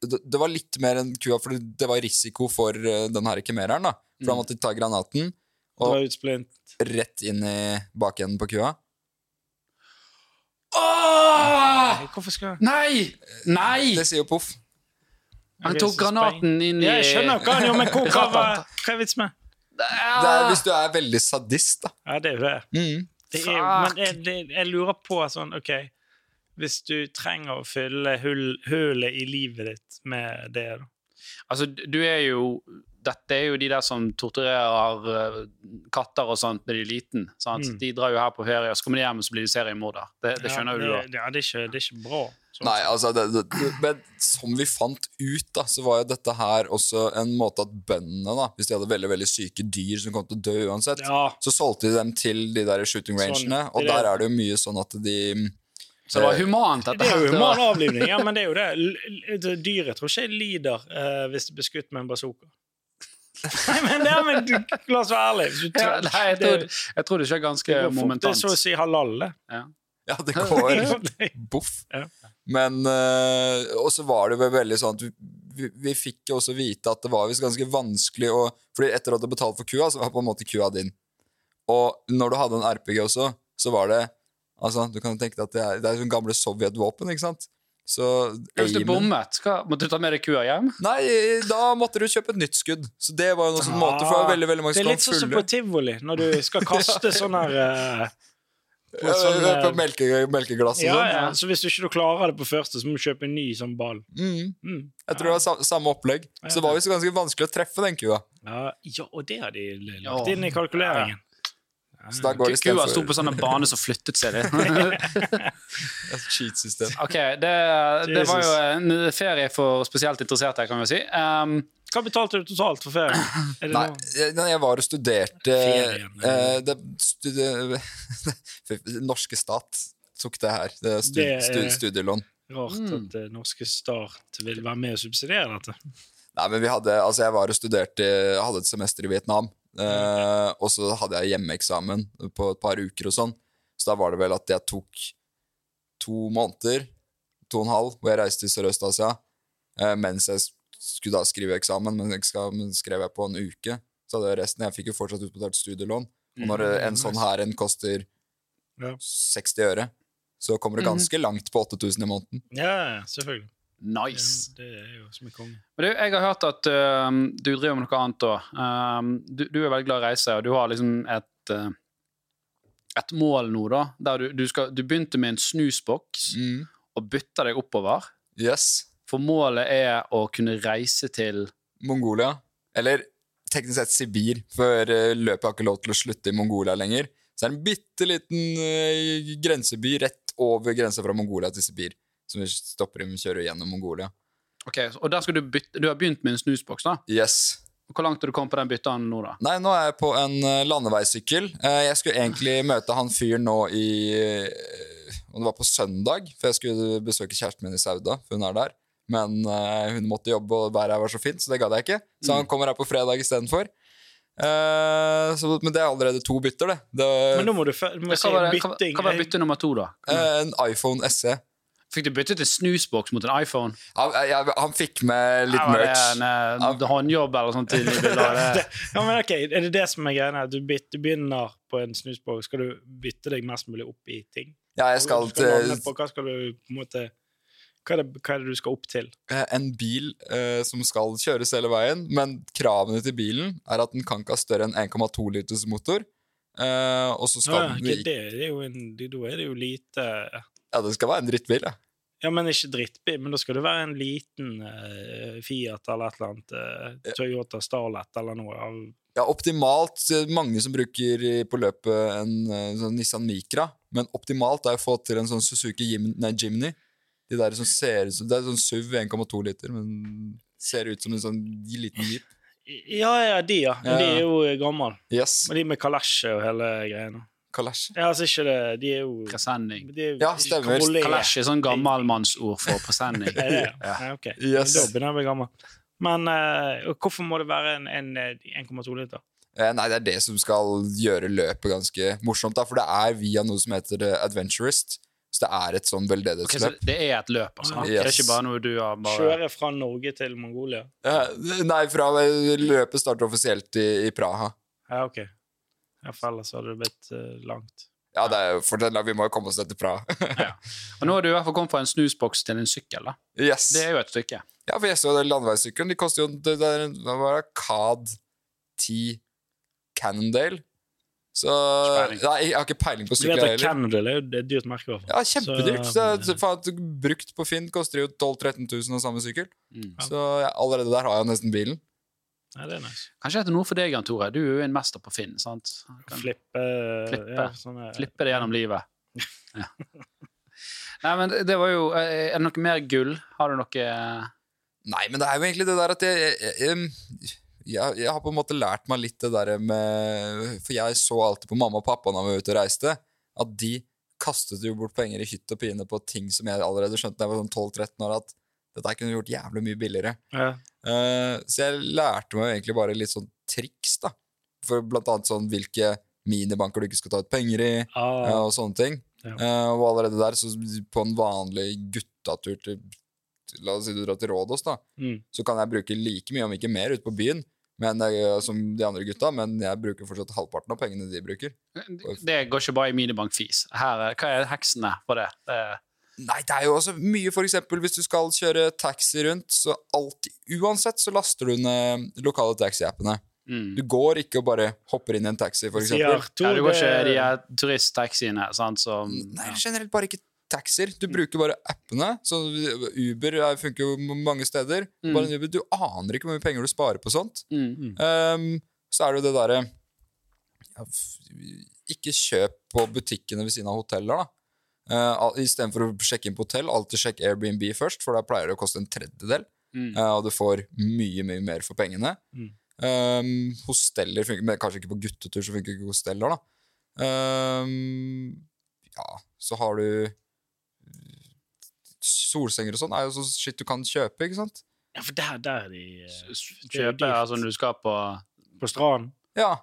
S3: det, det var litt mer enn kua, for det var risiko for eh, den her kemereren. da For da måtte de ta granaten
S1: Altså,
S2: Det var utsplint.
S3: rett inn i bakenden på kua.
S1: Åh! Ah!
S2: Nei, Hvorfor skal
S1: Nei! Nei!
S3: Det sier jo poff.
S1: Han
S2: Ok,
S1: tok
S2: så
S1: granaten inn i
S2: Ja, jeg skjønner hva han gjør, men hvor, hva, hva, hva er vitsen med
S3: Det er
S1: Ah!
S3: hvis du er veldig sadist, da.
S2: Ja, det er jo det.
S3: Mm.
S2: det er,
S1: Fuck.
S2: men jeg, det, jeg lurer på sånn OK, hvis du trenger å fylle hull, hullet i livet ditt med det, da.
S1: Altså, du er jo Dette er jo de der som torturerer eh, katter og sånt når de er liten. Sant?
S2: Mm.
S1: De drar jo her på ferie, og så kommer de hjem og så blir de seriemorder. Det, det skjønner
S2: ja,
S1: jo du, da.
S2: det, ja, det er ikke, det er ikke bra. Sånn.
S3: Nei, altså det, det, det, Men som vi fant ut, da, så var jo dette her også en måte at bøndene, da, hvis de hadde veldig veldig syke dyr som kom til å dø uansett,
S2: Ja,
S3: så solgte de dem til de der shooting rangene,
S2: Sånn,
S3: og
S2: det er-
S3: der er det jo mye sånn at de
S1: Så det var humant, dette
S2: det er jo
S1: her.
S2: human avlivning, ja, men det er jo det. L- l- det- Dyret tror ikke jeg lider eh, hvis det blir skutt med en bazooka. Nei, men, ja, men du, la oss være ærlige. Hvis du
S1: Ja,
S2: tør-
S1: nei, jeg tror, jeg tror det ikke er ganske
S2: det går fort, det er
S1: momentant.
S2: så å si halal, det.
S3: Ja, det går boff.
S2: Ja.
S3: Men eh, Og så var det vel veldig sånn at vi, vi, vi fikk jo også vite at det var visst ganske vanskelig å Fordi etter at du betalte for kua, så var på en måte kua din. Og når du hadde en RPG også, så var det Altså, du kan tenke deg at det er, det er sånne gamle sovjetvåpen, ikke sant? Så
S1: Hvis du
S3: aimen-
S1: bommet, hva, måtte du ta med deg kua hjem?
S3: Nei, da måtte du kjøpe et nytt skudd. Så det var jo noe sånn måte for det var veldig, veldig mange
S2: Ah, Det er
S3: som kom
S2: litt sånn som
S3: fulle
S2: på tivoli, når du skal kaste sånn her eh, på
S3: Ja,
S2: sånn,
S3: ja, på
S2: eh,
S3: melke, melkeglass og
S2: ja,
S3: sånn.
S2: ja. Så hvis du ikke du klarer det på første, så må du kjøpe en ny sånn ball.
S3: Mm,
S2: Mm.
S3: jeg tror det var sa, samme opplegg. Så det var visst ganske vanskelig å treffe den kua.
S2: Ja, ja, og det har de lagt
S1: Ja.
S2: inn i kalkuleringen.
S3: Så da går det
S1: Kua sto
S3: istedenfor-
S1: på sånn en bane som flyttet seg litt.
S3: Et cheat-system.
S1: Ok, det, det var jo en ferie for spesielt interesserte, kan vi si. Um,
S2: Hva betalte du totalt for ferien? Er det
S3: Nei,
S2: noe?
S3: jeg, nei, jeg var og studerte
S2: Ferien,
S3: eh, det, studie, Den norske stat tok det her. Det er stu,
S2: Det er-
S3: stu, studielån.
S2: Rart
S1: Mm.
S2: at eh, norske Start vil være med og subsidiere dette.
S3: Nei, men vi hadde, altså jeg var og studerte Jeg hadde et semester i Vietnam. Eh, og så hadde jeg hjemmeeksamen på et par uker og sånn. Så da var det vel at jeg tok to måneder, to og en halv, hvor jeg reiste til Sørøst-Asia. eh, mens jeg skulle da skrive eksamen, men eksamen skrev jeg på en uke. Så hadde jeg resten. Jeg fikk jo fortsatt utbetalt studielån. Og når eh, en sånn her en koster
S2: Ja.
S3: 60 øre, så kommer det ganske langt på 8000 i måneden.
S2: Ja, ja, selvfølgelig. Ja,
S1: nice.
S2: det er jo som en konge.
S1: Men du, jeg har hørt at øhm, du driver Ehm, med noe annet òg. du, du er veldig glad i å reise, og du har liksom eh, et øh, ett mål nå, da. Der du, du, skal, du begynte med en snusboks
S3: Mm.
S1: og bytta deg oppover.
S3: Yes.
S1: For målet er å kunne reise til
S3: Mongolia. Eller teknisk sett Sibir, for eh, løpet har ikke lov til å slutte i Mongolia lenger. Så er det en bitte liten eh, grenseby rett over grensa fra Mongolia til Sibir. Som vi stopper om vi kjører gjennom Mongolia.
S1: Ok, Og der skal du bytte Du har begynt med en snusboks, da.
S3: Yes.
S1: Hvor langt har du kommet på den bytta nå, da?
S3: Nei, nå er jeg på en eh, landeveissykkel. Eh, Jeg skulle egentlig møte han fyren nå i eh, Om det var på søndag, for jeg skulle besøke kjæresten min i Sauda, for hun er der. Men eh, hun måtte jobbe, og været her var så fint, så det gadd jeg ikke. Så
S1: Mm.
S3: han kommer her på fredag istedenfor. Eh, så- Men det er allerede to bytter, det. det
S1: Eh,
S2: Men nå må du, fø- du må
S1: Hva
S2: si
S1: var, det- hva,
S2: bytting.
S1: hva var bytte nummer to, da?
S3: eh, en iPhone SE.
S1: Fikk du byttet en snusboks mot en iPhone?
S3: Han, eh, jeg, han fikk med litt
S1: Her var det
S3: merch.
S1: En, eh, håndjobb eller sånt til de ville ha det.
S2: ja, men ok, Er det det som er greia? Du, byt- du begynner på en snusbok, skal du bytte deg mest mulig opp i ting?
S3: Ja, jeg skal
S2: Du
S3: til
S2: lande på, hva skal du på en måte hva er, det, hva er det du skal opp til?
S3: eh, en bil eh, som skal kjøres hele veien, men kravene til bilen er at den kan ikke ha større enn 1,2 liters motor. Eh, og så skal
S2: Ah, Ja,
S3: den
S2: ok,
S3: ikke-
S2: det, det er jo en, det, da er det jo lite
S3: Ja, det skal være en drittbil, ja.
S2: Ja, men ikke drittbil, men da skal det være en liten eh, Fiat eller et eller annet. eh, Toyota Starlet eller noe. av
S3: ja. Optimalt eh, mange som bruker i- på løpet en eh, sånn Nissan Micra, men optimalt er å få til en sånn Suzuki Jim, nei, Jimny. De der som ser ut som Det er sånn SUV 1,2 liter, men ser ut som en sånn liten jeep.
S2: Ja, ja, de, ja. Men
S3: Ja.
S2: de er jo gamle.
S3: Yes.
S2: Men de med kalesje og hele greiene.
S3: Kalesje.
S2: Ja, altså ikke det De er jo
S1: Presenning.
S2: de er jo-
S3: Ja, stemmer.
S2: Cabriolet.
S1: Kalesj er sånn gammalmannsord for presenning.
S2: Er det det?
S1: Ja.
S2: Nei, ok.
S3: Yes.
S2: Da begynner jeg å bli gammel. Men eh, og hvorfor må det være en, en eh, 1,2 liter?
S3: Eh, Nei, det er det som skal gjøre løpet ganske morsomt, da, for det er via noe som heter eh, Adventurist. Så det er et sånn
S1: Ok, så
S3: veldedighetsløp.
S1: det er et løp, altså?
S2: Ah,
S1: Det er
S3: yes.
S1: ikke bare noe du har bare
S2: Kjøre fra Norge til Mongolia?
S3: Eh, Nei, fra eh, løpet starter offisielt i, i Praha.
S2: Ja, ok. Ja, for ellers hadde det blitt eh, langt.
S3: Ja, det er jo for den, da, vi må jo komme oss ned til Praha.
S1: Og nå har du i hvert fall kommet fra en snusboks til en sykkel, da.
S3: yes.
S1: Det er jo et stykke.
S3: Ja, for jeg så den landeveissykkelen. De koster jo det, det er, en- Hva var det? CAD 10 Cannondale. Så Nei,
S1: Ikke peiling.
S3: jeg har ikke peiling
S2: Du
S3: på
S2: vet
S3: sykler
S2: at
S3: heller.
S2: Cannondale er jo det er et dyrt merke, i hvert fall.
S3: Ja, kjempedyrt. Så,
S2: Så- eh, um,
S3: så, faen, brukt på Finn koster jo 12 000-13 000 av samme sykkel.
S1: Mm.
S2: Ja.
S3: Så ja, allerede der har jeg nesten bilen.
S2: Nei, det er nice.
S1: Kanskje dette er noe for deg, Jan Tore. Du er jo en mester på Finn. sant? Kan
S2: Flippe,
S1: Flippe.
S2: Ja, sånn sånne,
S1: Flippe det gjennom livet. Ja. Nei, men det var jo eh, Er det noe mer gull? Har du noe eh,
S3: Nei, men det er jo egentlig det der at jeg jeg, jeg, jeg, jeg har på en måte lært meg litt det der med For jeg så alltid på mamma og pappa når vi var ute og reiste, at de kastet jo bort penger i hytt og pine på ting som jeg allerede skjønte da jeg var sånn 12-13 år, at dette her kunne vi gjort jævlig mye billigere.
S2: Ja.
S3: Eh, så jeg lærte meg jo egentlig bare litt sånn triks, da. For blant annet sånn hvilke minibanker du ikke skal ta ut penger i. ja,
S2: Ah,
S3: og sånne ting.
S2: Ja.
S3: Eh, og allerede der, så på en vanlig guttatur til til- La oss si du drar til Rådås, da.
S2: Mm.
S3: Så kan jeg bruke like mye, om ikke mer, ute på byen men, eh, som de andre gutta, men jeg bruker fortsatt halvparten av pengene de bruker.
S1: Det går ikke bare i minibankfis. Her, eh, hva er heksene på det? det
S3: Nei, det er jo også mye, for eksempel hvis du skal kjøre taxi rundt, så alltid Uansett så laster du ned lokale taxiappene.
S1: mm.
S3: Du går ikke og bare hopper inn i en taxi, for eksempel.
S2: sier eh,
S1: ja, det går ikke
S2: Tore-
S1: de her turisttaxiene sant, som
S3: Nei, generelt bare ikke taxier. Du bruker bare appene. Så Uber er- funker jo m- mange steder.
S1: Mm.
S3: Bare en Uber, Du aner ikke hvor mye penger du sparer på sånt.
S1: Mm.
S3: Ehm, så er det jo det derre ja, f- Ikke kjøp på butikkene ved siden av hoteller, da. Uh, Istedenfor å sjekke inn på hotell, alltid sjekk Airbnb først, for der pleier det å koste en tredjedel.
S1: Mm.
S3: eh, og du får mye, mye mer for pengene.
S2: Mm.
S3: Ehm, hosteller funker, men kanskje ikke på guttetur, så funker ikke hosteller, da. Ehm, ja, så har du Solsenger og sånn er jo sånn shit du kan kjøpe, ikke sant?
S2: Ja, for der, der er de eh,
S1: S- s-
S2: det er jo
S1: Kjøpe
S2: dyrt.
S1: altså, når du skal på
S2: på stranden.
S3: Ja.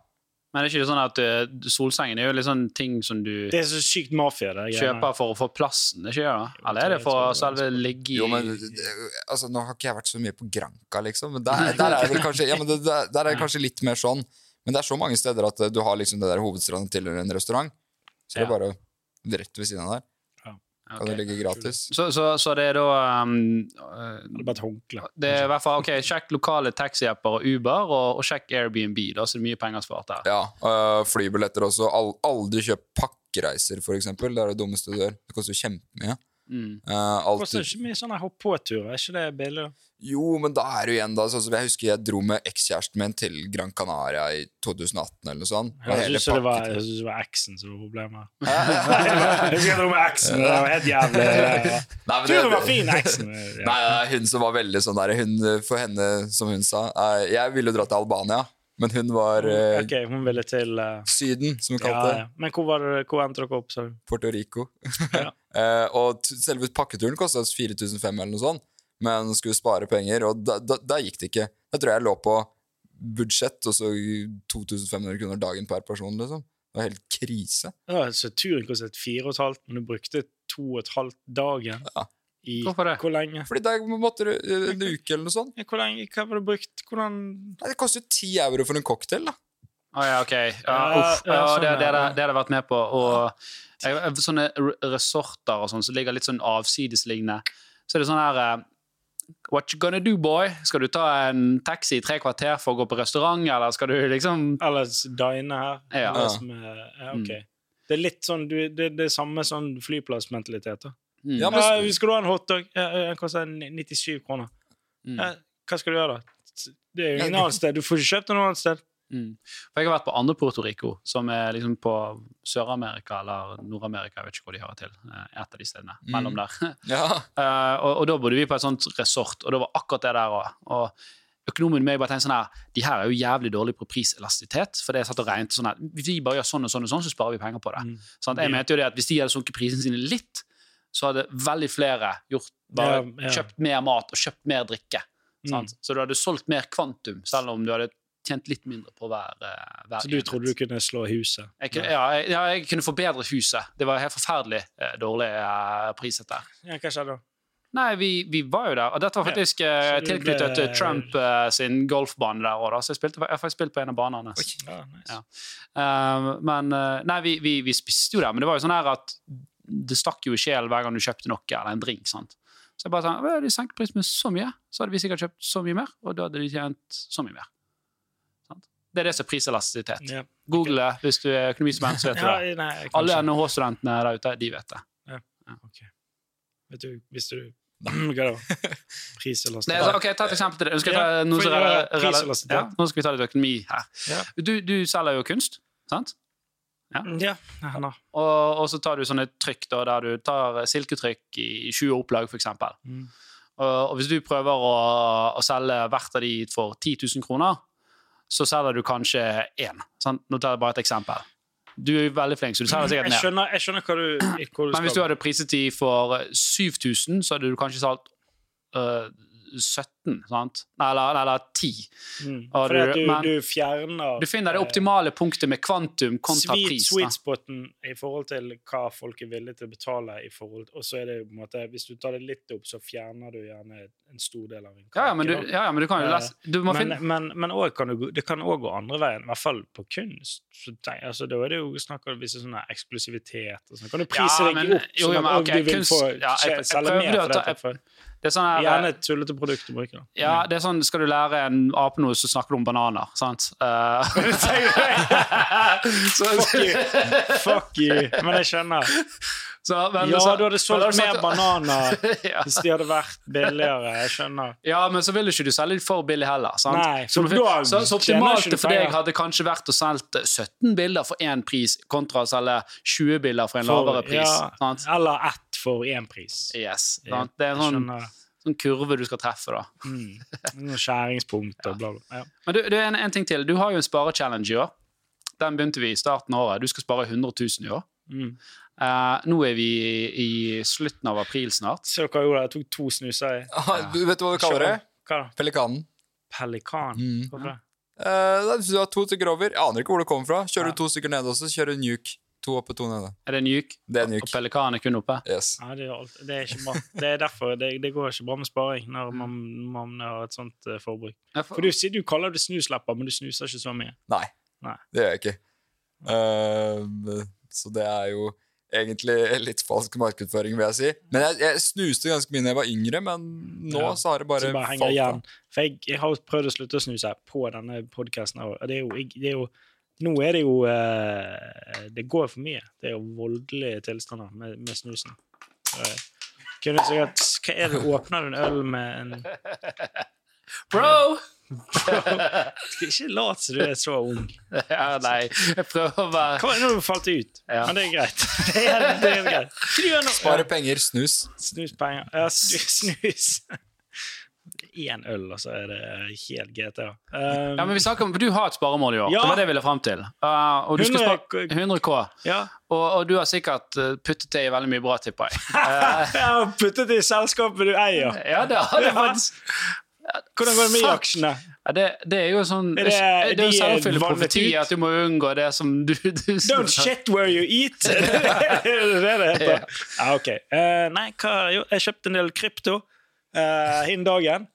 S1: Men det er ikke det sånn at eh, solsengen er jo litt sånn ting som du
S2: Det er så sykt mafia, det greiene.
S1: kjøper for å få plassen, det er ikke det? da? Eller er det for å
S2: Jeg tror det sånn-
S1: selve ligge i
S3: Jo, men det- altså, Nå har ikke jeg vært så mye på Granka, liksom. Men der, der er det vel kanskje, ja, men det, der, der er det kanskje litt mer sånn. Men det er så mange steder at eh, du har liksom det der hovedstranden tilhører en restaurant. Så det er
S2: Ja.
S3: bare rett ved siden av der. Kan det ligge gratis?
S1: Så, så, så det er da um,
S2: Det er bare et håndkle.
S1: det er i hvert fall, ok, Sjekk lokale taxiapper og Uber, og, og sjekk Airbnb. da, så det er mye penger spart der.
S3: Ja, øh, flybilletter også. Al aldri kjøp pakkereiser, for eksempel. Det er det dummeste du gjør. Det koster jo kjempemye.
S1: Mm.
S3: Uh,
S2: Koster ikke mye sånne hopp-på-turer, er ikke det billig? da?
S3: Jo, men da er det jo igjen da sånn som Jeg husker jeg dro med ekskjæresten min til Gran Canaria i 2018 eller noe sånt. og
S2: Jeg
S3: hele
S2: syns det, var-
S3: pakken-
S2: jeg synes det var eksen som var problemet.
S3: Hæ?
S2: Jeg husker jeg dro med eksen, det var helt jævlig.
S3: Nei, men
S2: Turen
S3: det-
S2: var fin, eksen.
S3: Nei, nei, hun som var veldig sånn der hun, For henne, som hun sa eh, Jeg ville jo dra til Albania, men hun var eh,
S2: Ok, hun ville til eh,
S3: Syden, som hun
S2: ja,
S3: kalte det.
S2: ja. Men hvor, var det, hvor endte dere opp? sa du?
S3: Puerto Rico.
S2: Ja.
S3: Eh, og t selve pakketuren kosta oss 4500 eller noe sånt, men skulle spare penger, og da, da, da gikk det ikke. Jeg tror jeg lå på budsjett, og så 2500 kroner dagen per person, liksom. Det var helt krise.
S2: Ja, så turen kostet fire og et halvt, men du brukte to og et halvt dagen.
S3: Ja.
S2: I
S1: Hvorfor det?
S2: Hvor lenge?
S3: Fordi da måtte du eh, en uke eller noe sånt.
S2: Ja, hvor lenge? Hva var det brukt? Hvordan
S3: Nei, det koster jo 10 euro for en cocktail, da.
S1: Å ja, ok. Ja,
S2: Ja,
S1: uff.
S2: ja,
S1: Ja,
S2: sånn,
S1: det, det,
S2: ja.
S1: det, det hadde jeg vært med på. Og jeg, jeg- sånne re- resorter og sånn som ligger litt sånn avsidesliggende. Så er det sånn her eh, What you gonna do, boy? Skal du ta en taxi i tre kvarter for å gå på restaurant, eller skal du liksom
S2: Ellers dine her?
S1: Ja.
S2: Det, som er, ja,
S3: Mm.
S2: ok. det er litt sånn du, det, det er samme sånn flyplassmentalitet. da.
S1: mm.
S3: Ja, men-
S2: Ja, skal du ha en hotdog? Ja, ja, Den koster 97 kroner.
S1: Mm.
S2: Ja, hva skal du gjøre, da? Det er jo ingen
S3: Ja,
S2: annet sted. Du får ikke kjøpt det noe annet sted.
S1: Mm. For jeg har vært på andre Puerto Rico, som er liksom på Sør-Amerika eller Nord-Amerika, jeg vet ikke hvor de hører til. eh, Et av de stedene
S3: Mm.
S1: mellom der.
S3: Ja.
S1: Eh, og, og da bodde vi på et sånt resort, og det var akkurat det der òg. Og økonomen med bare tenkte sånn her De her er jo jævlig dårlige på priselastisitet. For det er satt og regnet sånn her Hvis vi bare gjør sånn og sånn, og sånn så sparer vi penger på det.
S2: Mm.
S1: Sant? jeg
S2: Ja.
S1: mente jo det at hvis de hadde sunket prisene sine litt, så hadde veldig flere gjort bare
S2: Ja, ja.
S1: kjøpt mer mat og kjøpt mer drikke.
S2: Mm.
S1: Sant? Så du hadde solgt mer kvantum, selv om du hadde tjent litt mindre på hver, eh, hver
S2: Så du trodde du kunne slå huset?
S1: jeg kunne, ja, jeg, ja, jeg kunne forbedre huset. Det var helt forferdelig eh, dårlig eh, priset der.
S2: Ja, hva skjedde da?
S1: Nei, vi, vi var jo der. Og dette var
S2: Ja.
S1: faktisk eh,
S2: Så du
S1: tilknyttet til
S2: ble-
S1: Trump eh, sin golfbane der òg, da. Så jeg, spilte, jeg har faktisk spilt på en av banene hans.
S2: Ja, nice.
S1: Ja. Eh, men eh, Nei, vi, vi, vi spiste jo der, men det var jo sånn her at det stakk jo i sjelen hver gang du kjøpte noe eller en drink. sant? Så jeg bare sånn, «Å, De senket prisen med så mye, så hadde vi sikkert kjøpt så mye mer, og da hadde de tjent så mye mer. Sant? Det er det som er priselastisitet.
S2: Ja.
S1: Google det hvis du er økonomistudent, så vet du det.
S2: Ja, nei, jeg kan
S1: Alle
S2: ikke.
S1: NHH-studentene der ute, de vet det.
S2: Vet du, visste du hva det var? Pris eller
S1: Nei, altså, ok, Ta et eksempel til det. Nå skal, jeg ta,
S2: Ja,
S1: noe som
S2: for- ja,
S1: rela-
S2: pris
S1: rela-
S2: og lastitet.
S1: ja, nå skal vi ta litt økonomi her.
S2: Ja.
S1: Du, du selger jo kunst, sant?
S2: Ja, nei, han har.
S1: Og, og så tar du sånne trykk da, der du tar silketrykk i 20 opplag, f.eks.
S2: Mm.
S1: Og, og hvis du prøver å, å selge hvert av de for 10 000 kroner, så selger du kanskje én. Sant? Nå tar jeg bare et eksempel. Du er jo veldig flink, så du selger sikkert
S2: Jeg
S1: mer.
S2: skjønner, jeg skjønner hva du, hvor du
S1: Men hvis du
S2: skal.
S1: hadde priset de for 7000, så hadde du kanskje solgt øh, 17, sant? Eller, eller 10.
S2: Mm.
S1: Har
S2: Fordi
S1: du-
S2: at du,
S1: men-
S2: du fjerner
S1: Du finner det optimale punktet med kvantum kontra
S2: sweet,
S1: pris. da.
S2: sweet spoten i forhold til hva folk er villige til å betale i forhold Og så er det jo på en måte Hvis du tar det litt opp, så fjerner du gjerne en stor del av en kake.
S1: Ja, ja, men du,
S2: da.
S1: ja, ja, men du kan jo
S2: Eh,
S1: lese du må
S2: men,
S1: finne,
S2: men, men også kan du, gå- det kan òg gå andre veien, i hvert fall på kunst. Så tenk, altså, da er det jo snakk om visse sånne eksklusivitet. Og sånn. kan du
S1: Ja,
S2: prise deg
S1: men-
S2: opp,
S1: jo, jo,
S2: sånn
S1: men
S2: at
S1: ok,
S2: og du vil
S1: kunst-
S2: få
S1: ja, jeg-
S2: tje-
S1: jeg
S2: selge
S1: prøvde
S2: mer
S1: å
S2: for
S1: ta-
S2: dette. For,
S1: Det er sånn her,
S2: eh, gjerne et tullete produkt å bruke. Da.
S1: ja, det er sånn, Skal du lære en ape noe, så snakker du om bananer, sant? Eh, så,
S2: Fuck you! Fuck you! Men jeg skjønner.
S1: så- men-
S2: Ja,
S1: så-
S2: du hadde
S1: men da
S2: solgt
S1: har du
S2: mer
S1: sagt-
S2: bananer
S1: ja.
S2: hvis de hadde vært billigere. Jeg skjønner.
S1: ja, men så vil ikke du selge litt for billig heller. sant?
S2: Nei,
S1: så,
S2: for da
S1: så, så
S2: tjener ikke
S1: optimalt
S2: du
S1: for deg
S2: penger.
S1: hadde kanskje vært å selge 17 bilder for én pris, kontra å selge 20 bilder for en
S2: For-
S1: lavere pris.
S2: ja,
S1: sant?
S2: Eller ett for én pris.
S1: Yes,
S2: Ja,
S1: sant? Det er en
S2: Jeg
S1: sånn,
S2: skjønner.
S1: sånn kurve du skal treffe, da.
S2: Mm. Noen skjæringspunkt og bla, bla. Ja.
S1: Men du, du en, en ting til. Du har jo en sparechallenge i år. Den begynte vi i starten av året. Du skal spare 100 000 i år.
S2: Mm.
S1: Eh, nå er vi i, i slutten av april snart.
S2: Så hva jeg gjorde jeg? Jeg tok to snuser i.
S3: Ah, du vet du hva du kaller det?
S2: Hva da?
S3: Pelikanen.
S2: Pelikan?
S3: Mm.
S2: Hvorfor det?
S3: Eh, da- hvis du har to stykker over. Jeg aner ikke hvor det kommer fra. Kjører
S2: Ja.
S3: du to stykker nede også, kjører du nuke. To oppe, to nede.
S1: Er det en juk?
S3: Det er
S1: Og
S3: nuke.
S1: pelikanen er kun oppe?
S3: Yes.
S2: Nei, det, er alt, det er ikke bra. Det er derfor det, det går ikke bra med sparing når
S3: Mm.
S2: man, man har et sånt eh, forbruk.
S1: Ja, for-
S2: For du, sier- du kaller det snuslepper, men du snuser ikke så mye.
S3: Nei,
S2: Nei.
S3: det gjør jeg ikke. Ehm, så det er jo egentlig litt falsk markedsføring, vil jeg si. Men jeg, jeg snuste ganske mye da jeg var yngre, men nå
S2: Ja,
S3: så har det bare,
S2: som bare henger
S3: falt
S2: igjen.
S3: av.
S2: For jeg, jeg har jo prøvd å slutte å snuse på denne podkasten. Det er jo, jeg, det er jo Nå er det jo eh, Det går for mye. Det er jo voldelige tilstander med, med snusen. Så jeg Kunne sikkert Hva er det? Åpner du en øl med en
S1: Bro!
S2: Skal ikke late som du er så ung.
S1: Ja, nei, jeg prøver å være
S2: Hva er det nå du falt ut?
S1: Ja.
S2: Men det er greit. Det er, det er greit. Hva du gjør nå?
S3: Spare penger, snus.
S2: Snuspenger. Ja, snu- snus. Én øl, og så er det helt GTA. Um,
S1: Ja, men vi snakker om, Du har et sparemål i år.
S2: Ja.
S1: Det var det jeg ville fram til. Uh, og du skal
S2: 100
S1: spare 100 K.
S2: Um, ja.
S1: Og, og du har sikkert uh, puttet det i veldig mye bra, tipper jeg. Eh,
S2: Jeg har puttet det i selskapet du eier.
S1: Ja, det har det
S2: Ja.
S1: faktisk.
S2: Hvordan går det med
S1: Fuck.
S2: aksjene?
S1: Ja, det, det er jo sånn
S2: Er
S1: Det,
S2: det-
S1: det er
S2: de
S1: jo
S2: er
S1: selvfølgelig
S2: vannet
S1: profeti
S2: ut?
S1: at du må unngå det som du, du
S2: Don't shit where you eat! det er det det heter. Ja, ok. Eh, nei, hva Jo, jeg kjøpte en del krypto eh, hin dagen.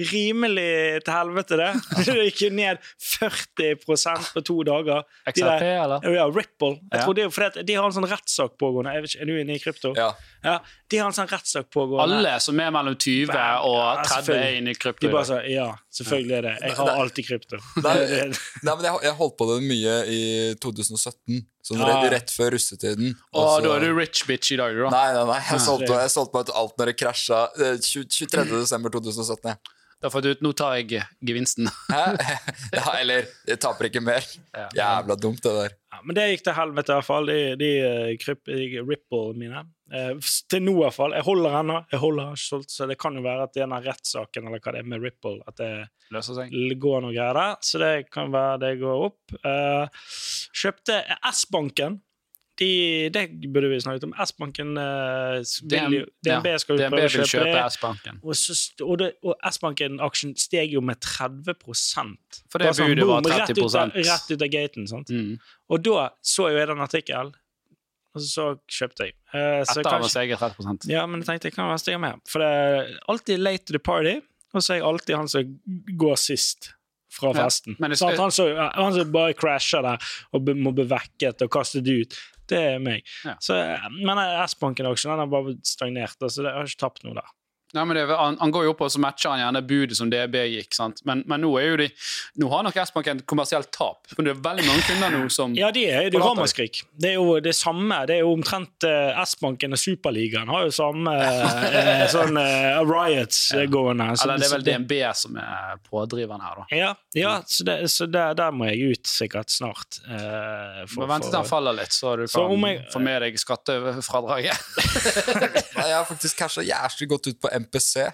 S2: Rimelig til helvete, det. Det gikk jo ned 40 på to dager. De
S1: XRP,
S2: der-
S1: eller?
S2: Ja, Ripple. Jeg
S1: Ja.
S2: tror det er jo fordi at de har en sånn rettssak pågående. Jeg vet ikke, Er du inne i krypto?
S3: Ja.
S2: Ja, de har en sånn rettssak pågående.
S1: Alle som er mellom 20 og
S2: Ja,
S1: 30
S2: selvfølgelig.
S1: er inne i
S2: De bare sånn,
S1: krypto.
S2: sa ja, selvfølgelig er det. Jeg har alltid krypto.
S3: Nei, nei, men jeg, jeg holdt på det mye i 2017, sånn
S2: Ja.
S3: rett, rett før russetiden.
S1: Og
S3: Og så-
S1: da er du rich bitch i dag, du, da.
S3: Nei, nei, nei. Jeg solgte, jeg solgte bare ut alt når det krasja eh, 20 23. desember 2017. jeg.
S1: Da har jeg fått ut, Nå tar jeg gevinsten.
S3: Hæ? Ja, eller jeg taper ikke mer. Jævla dumt, det der.
S2: Ja, men det gikk til helvete, i hvert fall. De, de, eh, kryp- de Ripple mine. Eh, s- til nå, i hvert fall. Jeg holder ennå. Jeg holder har ikke solgt, så det kan jo være at denne rettssaken eller hva det er med Ripple, at det
S1: Løser seg.
S2: l- går noe greier der. Så det kan være det går opp. Eh, kjøpte S-banken. De, det burde vi snakket om. S-banken eh, s- vil jo
S1: ja.
S2: DNB skal jo
S1: DNB
S2: prøve
S1: vil
S2: å kjøpe
S1: kjøpe
S2: det.
S1: S-banken.
S2: Og, så, st- og, det- og S-banken-aksjen steg jo med 30
S1: For det
S2: Bare sånn,
S1: budet var
S2: boom, rett ut av-
S1: 30%.
S2: Rett ut av gaten. sant?
S1: Mm.
S2: Og da så jo jeg den artikkelen, og så kjøpte jeg. Eh, så
S1: Etter at han har
S2: kanskje-
S1: steget 30
S2: Ja, men jeg tenkte jeg kan være stygg med. For det er alltid late to the party, og så er jeg alltid han som går sist fra
S1: Ja,
S2: festen.
S1: men det
S2: Sånn at
S1: skal-
S2: han, som, ja, han som bare crasher der og be, må bli vekket og kastet ut. Det er meg.
S1: Ja.
S2: Så, men eh, S-banken-aksjen den har bare stagnert, så det jeg har ikke tapt noe der.
S1: Nei, men det, er- han, han går jo opp, og så matcher han gjerne budet som DB gikk. sant? Men, men nå er jo de, nå har nok S-banken kommersielt tap. For det er veldig mange kunder nå som
S2: Ja, de er, det er jo
S1: Forlater.
S2: ramaskrik. Det er jo det samme. Det er jo omtrent eh, S-banken og Superligaen har jo samme eh, sånn eh, riots eh, gående. Så-
S1: Eller det er vel
S2: så-
S1: DNB som er pådriveren her, da.
S2: Ja, ja så, det, så der, der må jeg ut sikkert snart. eh,
S1: Du må vente til han faller litt, så du
S2: Så
S1: kan
S2: om jeg-
S1: få med deg skattefradraget.
S3: Nei, jeg har faktisk casha jævlig godt ut på MPC.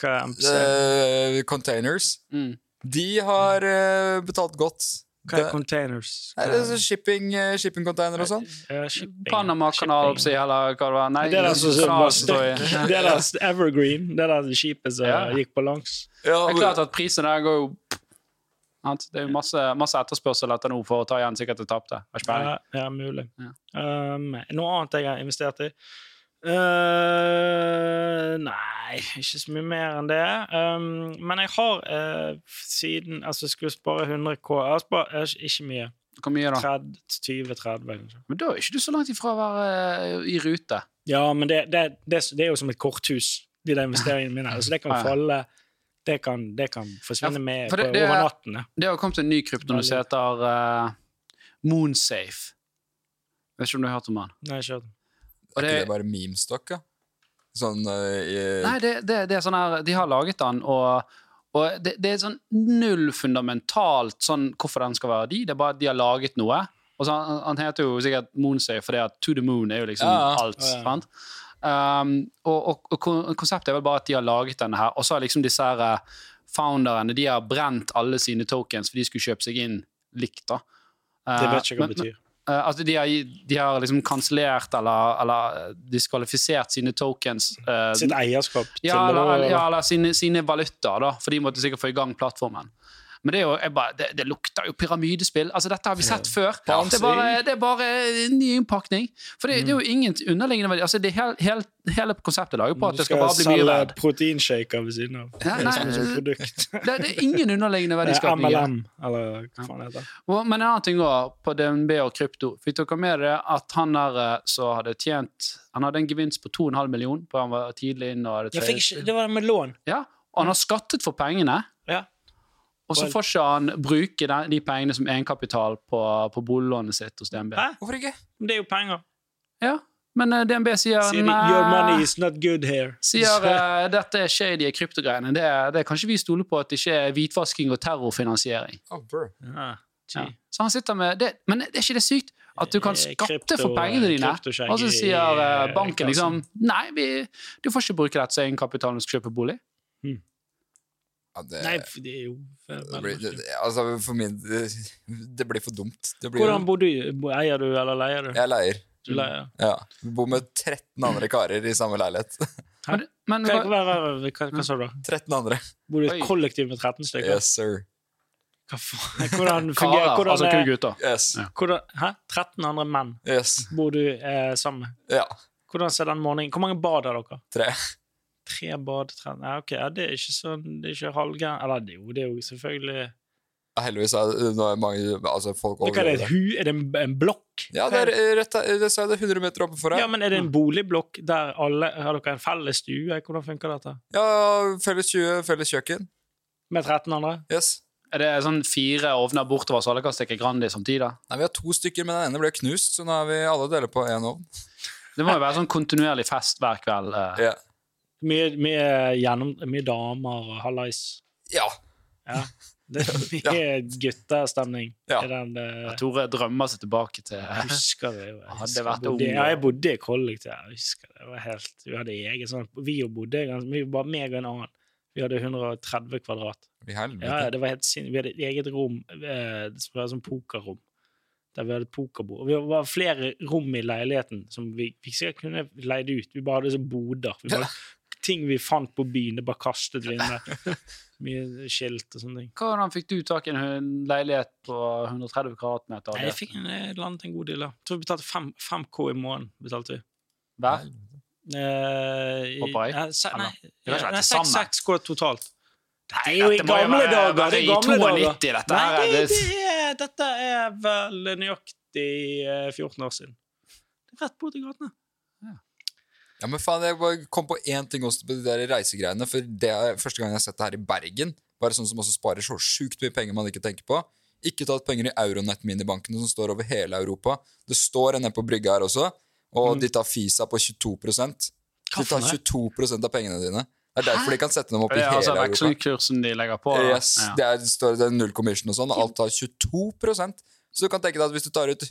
S2: hva er MPC?
S3: eh, containers.
S1: Mm.
S3: De har eh, betalt godt.
S2: Hva er
S3: Det-
S2: containers?
S3: Nei, det er så shipping, eh, shipping-container og sånn.
S2: Eh, shipping.
S1: Panamakanal,
S2: Shipping.
S1: si, eller hva det var. Nei,
S2: Det er der som som
S1: kanal
S2: var
S1: som står i.
S2: stuck. Det er der Evergreen. Det er der skipet som
S1: Ja.
S2: gikk på langs.
S3: Ja,
S1: Det er klart at prisen der går jo sant? Det er jo masse, masse etterspørsel etter noe for å ta igjen sikkert det tapte. Har ikke peiling.
S2: Ja, ja, mulig.
S1: Ja.
S2: Um, noe annet jeg har investert i? Eh, nei, ikke så mye mer enn det. Um, men jeg har eh, siden Altså, jeg skulle spare 100 K. Jeg har spart, eh, ikke mye.
S1: Hvor mye da?
S2: 30-20-30, kanskje.
S1: Men da er ikke du så langt ifra å være eh, i rute.
S2: Ja, men det, det, det, det er jo som et korthus, de der investeringene mine. Altså, det
S1: Ja,
S2: kan
S1: ja.
S2: falle Det kan, det kan forsvinne
S1: Ja,
S2: med
S1: for det-
S2: på,
S1: det er-
S2: over natten. ja.
S1: Det har kommet en ny krypto nå som heter eh, Moonsafe. Vet ikke om du har hørt om den?
S2: Nei, ikke sant.
S3: Er
S1: det-
S3: ikke det bare memestock, da? Sånn eh,
S1: Nei, det, det, det er sånn her De har laget den, og, og det, det er sånn null fundamentalt sånn hvorfor den skal være de. Det er bare at de har laget noe. Og så han, han heter jo sikkert Moonsafe fordi at To the Moon er jo liksom
S3: Ja, ja.
S1: alt.
S2: Ja, ja.
S1: sant? Um, og, og, og kon- konseptet er vel bare at de har laget denne her, og så har liksom disse her eh, founderne de har brent alle sine tokens, for de skulle kjøpe seg inn likt. da.
S2: Det
S1: Eh,
S2: vet ikke hva
S1: men-
S2: det betyr.
S1: Eh, altså de, har, de har liksom kansellert eller, eller eh, diskvalifisert sine tokens. eh,
S2: Sitt eierskap til
S1: ja,
S2: å-
S1: eller, ja, eller sine, sine valutaer, da, for de måtte sikkert få i gang plattformen. Men det, er jo, jeg bare, det, det lukter jo pyramidespill. Altså, dette har vi sett før.
S3: Ja.
S1: Det er bare, det er bare en ny innpakning. For det, det er jo ingen underliggende verdi. Altså, det er hel, hel, hele konseptet lager på at
S2: Du
S1: det skal
S2: skal
S1: bare bli mye
S2: selge
S1: redd.
S2: proteinshaker ved siden av.
S1: Ja, nei,
S2: Som et produkt.
S1: Det, det er ingen underliggende verdiskapning. i det.
S2: MLM, eller hva faen det heter.
S1: Og, men en annen ting også, på DNB og krypto. Fikk dere med dere at han der eh, som hadde tjent Han hadde en gevinst på 2,5 millioner på han var tidlig inn og hadde
S2: Jeg fikk
S1: tradet.
S2: ikke, det var med lån.
S1: Ja, og han har skattet for pengene.
S2: Ja.
S1: Og så
S2: Vel.
S1: får ikke han bruke de, de pengene som egenkapital på, på boliglånet sitt hos DNB.
S2: Hæ?
S3: Hvorfor ikke?
S2: Men Det er jo penger.
S1: Ja, Men eh, DNB sier,
S2: Sier de,
S1: nei,
S2: your money is not good here.
S1: sier eh, dette er shady kryptogreiene. Det, er- det kan ikke vi stole på at det ikke er hvitvasking og terrorfinansiering.
S3: Oh, bro.
S2: Ja,
S1: Ja.
S2: gee.
S1: Så han sitter med det. Men er ikke det sykt at du kan
S2: Eh,
S1: skatte
S2: krypto-
S1: for pengene dine,
S2: kryptoskjegg
S1: og så
S2: i,
S1: sier eh, banken
S2: eh,
S1: liksom Nei, vi, du får ikke bruke dette som egenkapital når du skal kjøpe bolig.
S3: Ja, det,
S2: Nei, for det er jo
S3: det blir, det, det- altså, for min det, det blir for dumt. Det blir,
S2: Hvordan bor du? Bo- Eier du, eller leier du?
S3: jeg leier.
S2: Du leier.
S1: Mm.
S3: Ja. Bor med 13 andre karer i samme leilighet.
S2: Hæ?
S1: Men, men
S2: Hva,
S1: hva,
S2: hva, hva, hva, hva sa du?
S3: 13 andre.
S2: Bor du i
S1: Mm. Oi.
S2: et kollektiv med 13 stykker?
S3: Yes, sir.
S2: Hva faen? Hvordan fungerer
S1: karer,
S2: hvordan,
S1: altså kun
S2: er-
S1: gutter.
S3: Yes.
S1: Ja.
S2: hvordan, Hæ? 13 andre menn
S3: yes.
S2: bor du eh, sammen med.
S3: Ja.
S2: Hvordan ser den morgenen Hvor mange bad har dere?
S3: Tre.
S2: Tre bad, tre ja, ok, ja, Det er ikke sånn Det er ikke halvgæren Eller det er jo, det er jo selvfølgelig
S3: Heldigvis er det nå er mange altså, folk
S2: Men Hva er det? Et hu? Er det en, en blokk?
S3: Ja, det er eh, rett der- det sa jeg det er 100 meter oppe
S2: Ja,
S3: deg.
S2: men Er det en boligblokk der alle Har dere en felles stue? Hvordan funker dette?
S3: Ja, felles 20, felles kjøkken.
S2: Med 13 andre?
S3: Yes.
S1: Er det sånn fire ovner bortover, så alle kan stikke Grandi samtidig? da?
S3: Nei, Vi har to stykker, men den ene ble knust, så nå er vi alle deler på én ovn.
S1: Det må jo være sånn kontinuerlig fest hver kveld. eh.
S3: Ja.
S2: Mye, mye, gjennom, mye damer og hallais.
S3: ja.
S2: Det er mye guttestemning
S3: Ja.
S2: i den eh,
S1: Tore drømmer seg tilbake til
S2: Jeg husker det. jo. Jeg
S1: Hadde
S2: husker jeg
S1: vært
S2: bodde-
S1: ung,
S2: Ja,
S1: da.
S2: jeg bodde i kollektiv. Jeg husker det. det var helt, vi hadde egen sånn Vi jo bodde ganske mye, bare meg og en annen. Vi hadde 130 kvadrat.
S3: I helvete.
S2: Ja, ja, det var helt sin... Vi hadde et eget rom eh, som var sånn pokerrom. Der vi hadde et pokerbord. Og vi var flere rom i leiligheten som vi, vi sikkert kunne leid ut. Vi bare hadde sånne boder. Vi bare, ting vi fant på byen, det bare kastet vi inn der. Mye skilt og sånne ting.
S1: Hvordan fikk du tak i en hun- leilighet på 130 kvadratmeter?
S2: Nei, jeg fikk en, eh, landet en god deal, da. Jeg tror vi betalte 5, 5K i måneden. betalte vi.
S1: Hver?
S2: Eh, i-
S1: Hopper jeg?
S2: Nei, se,
S1: Eller?
S2: nei,
S1: Det var ikke til
S2: nei, seks-
S1: sammen.
S2: seks går totalt.
S1: Nei,
S2: Det er jo i
S1: dette må
S2: gamle
S1: være-
S2: dager,
S1: være
S2: det er
S1: i
S2: gamle dager.
S1: 92, dette her.
S2: Nei,
S1: er-
S2: det er, dette er vel nøyaktig eh, 14 år siden. Det er Rett borti gatene.
S3: Ja, men faen, Jeg bare kom på én ting også på de der reisegreiene. For det er første gang jeg har sett det her i Bergen. Bare sånn som også sparer så sjukt mye penger man ikke tenker på. Ikke tatt penger i Euronet-minibankene som står over hele Europa. Det står en nede på brygga her også, og
S2: Mm.
S3: de tar Fisa på 22
S2: Hva for
S3: De tar
S2: noe?
S3: 22 av pengene dine. Det er
S1: Hæ?
S3: derfor de kan sette dem opp i
S1: Det er
S3: hele
S1: altså
S3: Europa.
S1: vekslingskursen de legger på. da.
S3: Eh, Yes,
S1: Ja.
S3: det, er, står- det er null commission og sånn. og Alt tar 22 Så du kan tenke deg at hvis du tar ut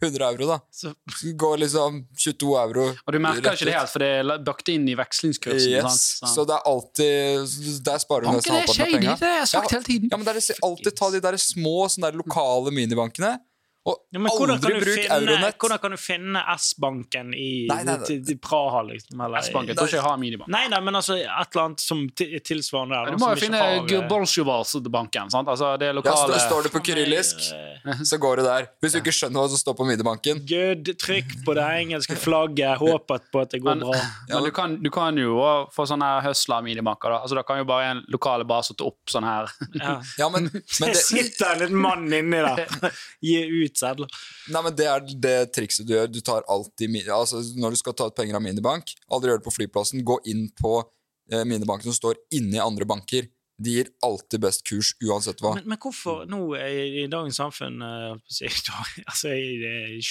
S3: 100 euro, da,
S2: Så,
S3: så går liksom 22 euro
S1: Og du merker
S3: Rett
S1: ikke det helt, for det er la- bakt inn i vekslingskursen.
S3: Yes.
S1: sant?
S3: Så det er alltid så Der sparer du nesten
S1: Banken er
S3: halvparten av
S1: shady, det
S3: penga.
S1: har jeg sagt hele tiden.
S3: Ja, men det er disse- alltid ta de der små sånne der lokale minibankene, og
S2: ja, men hvordan kan
S3: aldri
S2: du
S3: bruk
S2: finne-
S3: Euronet.
S2: Hvordan kan du finne S-banken i,
S3: Nei, nei, nei.
S2: til- til Praha, liksom? Eller,
S1: S-banken tror ikke jeg har minibank.
S2: Nei, nei, men altså et eller annet som ti- tilsvarende der.
S1: Du
S2: da,
S1: må jo
S2: som ikke
S1: finne
S2: har, eh,
S1: Gorbolsjovars-banken. sant? Altså, det er
S3: Ja,
S1: lokale
S3: så da står du på kyrillisk,
S2: eh,
S3: så går du der. Hvis du ikke skjønner hva som står på minibanken.
S2: Good. Trykk på det engelske flagget. Håp at- på at det går
S1: Men-
S2: bra.
S1: Men du kan, du kan jo også få sånne her høsla minibanker. Da Altså, da kan jo bare en lokale bare sette opp sånn her.
S2: Ja.
S3: Ja, men, men,
S2: det
S3: det,
S2: sitter en liten mann inni der. Gi ut sedler.
S3: nei, men det er det trikset du gjør. Du tar alltid mi- altså, Når du skal ta ut penger av minibank, aldri gjør det på flyplassen. Gå inn på eh, minibanken som står inni andre banker. De gir alltid best kurs, uansett hva.
S2: Men, men hvorfor nå i, i dagens samfunn, eh, holdt på å si, i dag, altså i det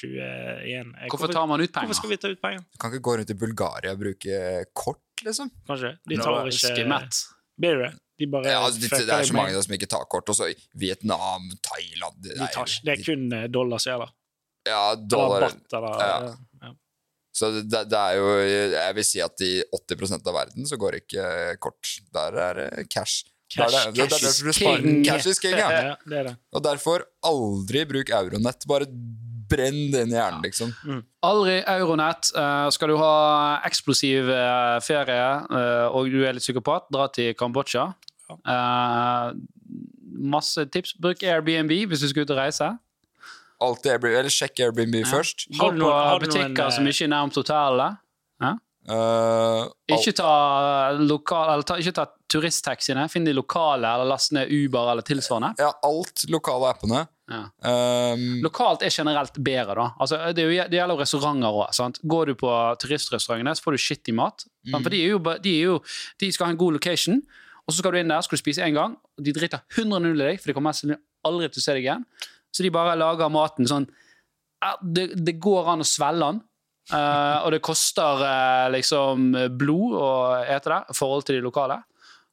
S2: 2021 eh,
S1: Hvorfor tar man ut
S2: Hvorfor
S1: penger?
S2: skal vi ta ut penger?
S3: Du kan ikke gå rundt i Bulgaria og bruke kort, liksom.
S2: Kanskje? De
S1: Nå
S2: tar
S1: er
S2: ikke
S1: Skimmet.
S2: Blir det det? De bare
S3: Ja, altså, det,
S2: fucker
S3: det er så
S2: med-
S3: mange der som ikke tar kort. Og så Vietnam, Thailand det
S2: de
S3: er-
S2: tar, ikke- Det er kun eh, dollarseler.
S3: Ja,
S2: Eller
S3: dollar.
S2: baht, eller
S3: Ja.
S2: eh, ja.
S3: Så det, det er jo Jeg vil si at i 80 av verden så går ikke eh, kort. Der er det cash. Der
S2: Cash,
S3: er det, det,
S2: cash
S3: er
S2: is
S3: derfor du
S1: king.
S3: sparer cash is king, ja.
S2: Ja, det er det.
S3: Og derfor aldri bruk euronett. Bare brenn det inn i hjernen, liksom.
S1: Aldri Euronett. Eh, skal du ha eksplosiv eh, ferie eh, og du er litt psykopat, dra til Kambodsja. Eh, masse tips. Bruk Airbnb hvis du skal ut og reise.
S3: Alltid Airbnb, eller sjekk Airbnb først.
S1: Gå
S2: Har du
S1: på
S2: noen- har du noen,
S1: butikker
S2: eh,
S1: som ikke er nærmest hotellet.
S3: Eh, al-
S1: Ikke ta, eh, lokal, eller ta, ikke ta turisttaxiene. Finn de lokale, eller last ned Uber eller tilsvarende.
S3: ja, alt lokale appene.
S1: Ja.
S3: Um,
S1: Lokalt er generelt bedre, da. Altså, det, er jo, det gjelder jo restauranter òg. Går du på turistrestaurantene, så får du skittig mat.
S3: Mm.
S1: sant? For de, er jo, ba- de, er jo, de skal ha en god location, og så skal du inn der, skal du spise én gang, og de driter 100 null i deg, for de kommer mest sannsynlig aldri til å se deg igjen. Så de bare lager maten sånn ja, det, det går an å svelge den. eh, og det koster eh, liksom blod å ete det i forhold til de lokale.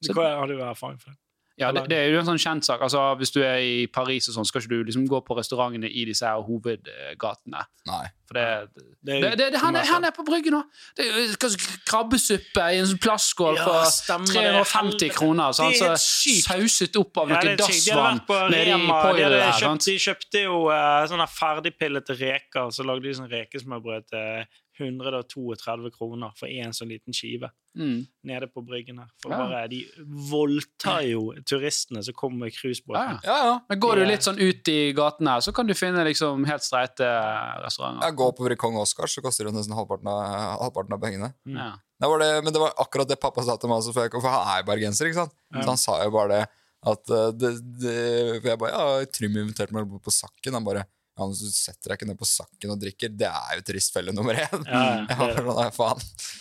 S2: Hva har du erfaring for?
S1: Ja, det, det er jo en sånn kjent sak. Altså, hvis du er i Paris, og sånn, skal ikke du liksom gå på restaurantene i disse her hovedgatene.
S3: nei.
S1: For det,
S2: Det,
S1: det, det, det, han, er, han er på bryggen nå! Det er jo kanskje krabbesuppe i en sånn plastskål for 350 kroner. Sånn,
S2: Det er
S1: så
S2: helt sykt.
S1: sauset opp av
S2: Ja,
S1: noe
S2: det er sykt. De hadde
S1: dassvann
S2: vært på
S1: nedi i
S2: Rema, de,
S1: poilet
S2: hadde
S1: der.
S2: kjøpt,
S1: Sant?
S2: de kjøpte jo eh, sånne ferdigpillete reker, så lagde de sånn rekesmørbrød til 132 kroner for én sånn liten skive
S1: Mm.
S2: nede på bryggen her. For
S1: Ja.
S2: bare, de voldtar jo turistene som kommer med
S1: Ja,
S2: cruisebåten.
S1: ja.
S3: Ja, ja.
S1: Men går
S2: Det
S1: du
S2: er-
S1: litt sånn ut i gatene, her, så kan du finne liksom helt streite eh,
S3: Ja,
S1: restauranter.
S3: gå på Kong Oscars, så koster det nesten halvparten av, halvparten av pengene.
S1: Ja.
S3: Det var det, men det var akkurat det pappa sa til meg også før jeg kom, for han er jo bergenser, ikke sant?
S2: Ja.
S3: Så han sa jo bare det, at eh, det, det For jeg bare Ja, Trym inviterte meg på Sakken. Han bare Ja, men du setter deg ikke ned på Sakken og drikker, det er jo turistfelle nummer én.
S2: Ja,
S3: Jeg var
S2: det-
S3: sånn, nei, faen.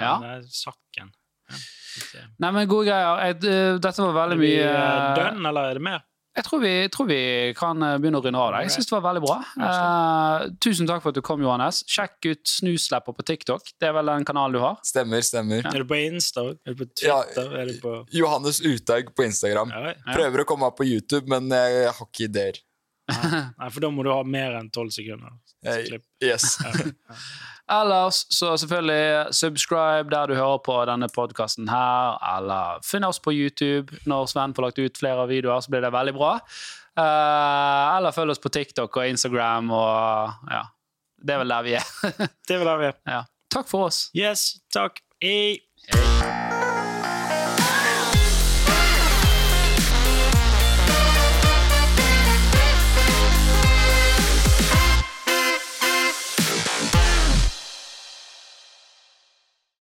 S1: Ja.
S2: Den der Sakken. Ja.
S1: Nei, men gode greier. Jeg, eh, dette var
S2: Er
S1: veldig
S2: vi
S1: mye
S2: eh,
S1: eh,
S2: done, eller er det mer?
S1: Jeg tror vi, tror vi kan eh, begynne å runde av. da. Jeg syns det var veldig bra. Eh, tusen takk for at du kom, Johannes. Sjekk ut Snuslepper på TikTok. Det er vel den kanalen du har?
S3: Stemmer, stemmer.
S2: Er du på Insta? Er du på
S3: Ja.
S2: Twitter? Er du på
S3: Johannes Uthaug på Instagram.
S2: ja,
S1: Ja.
S3: Prøver å komme meg på YouTube, men jeg, jeg har ikke ideer.
S2: Nei, for da må du ha mer enn tolv sekunder.
S3: Jeg-
S2: Klipp.
S3: Yes.
S1: Ellers så selvfølgelig eh, subscribe der du hører på denne podkasten her, eller finn oss på YouTube. Når Sven får lagt ut flere videoer, så blir det veldig bra. Eh, eller følg oss på TikTok og Instagram og ja. Det er vel der vi er.
S2: Det vil jeg vite.
S1: ja. Takk for oss.
S2: Yes, takk. Hei.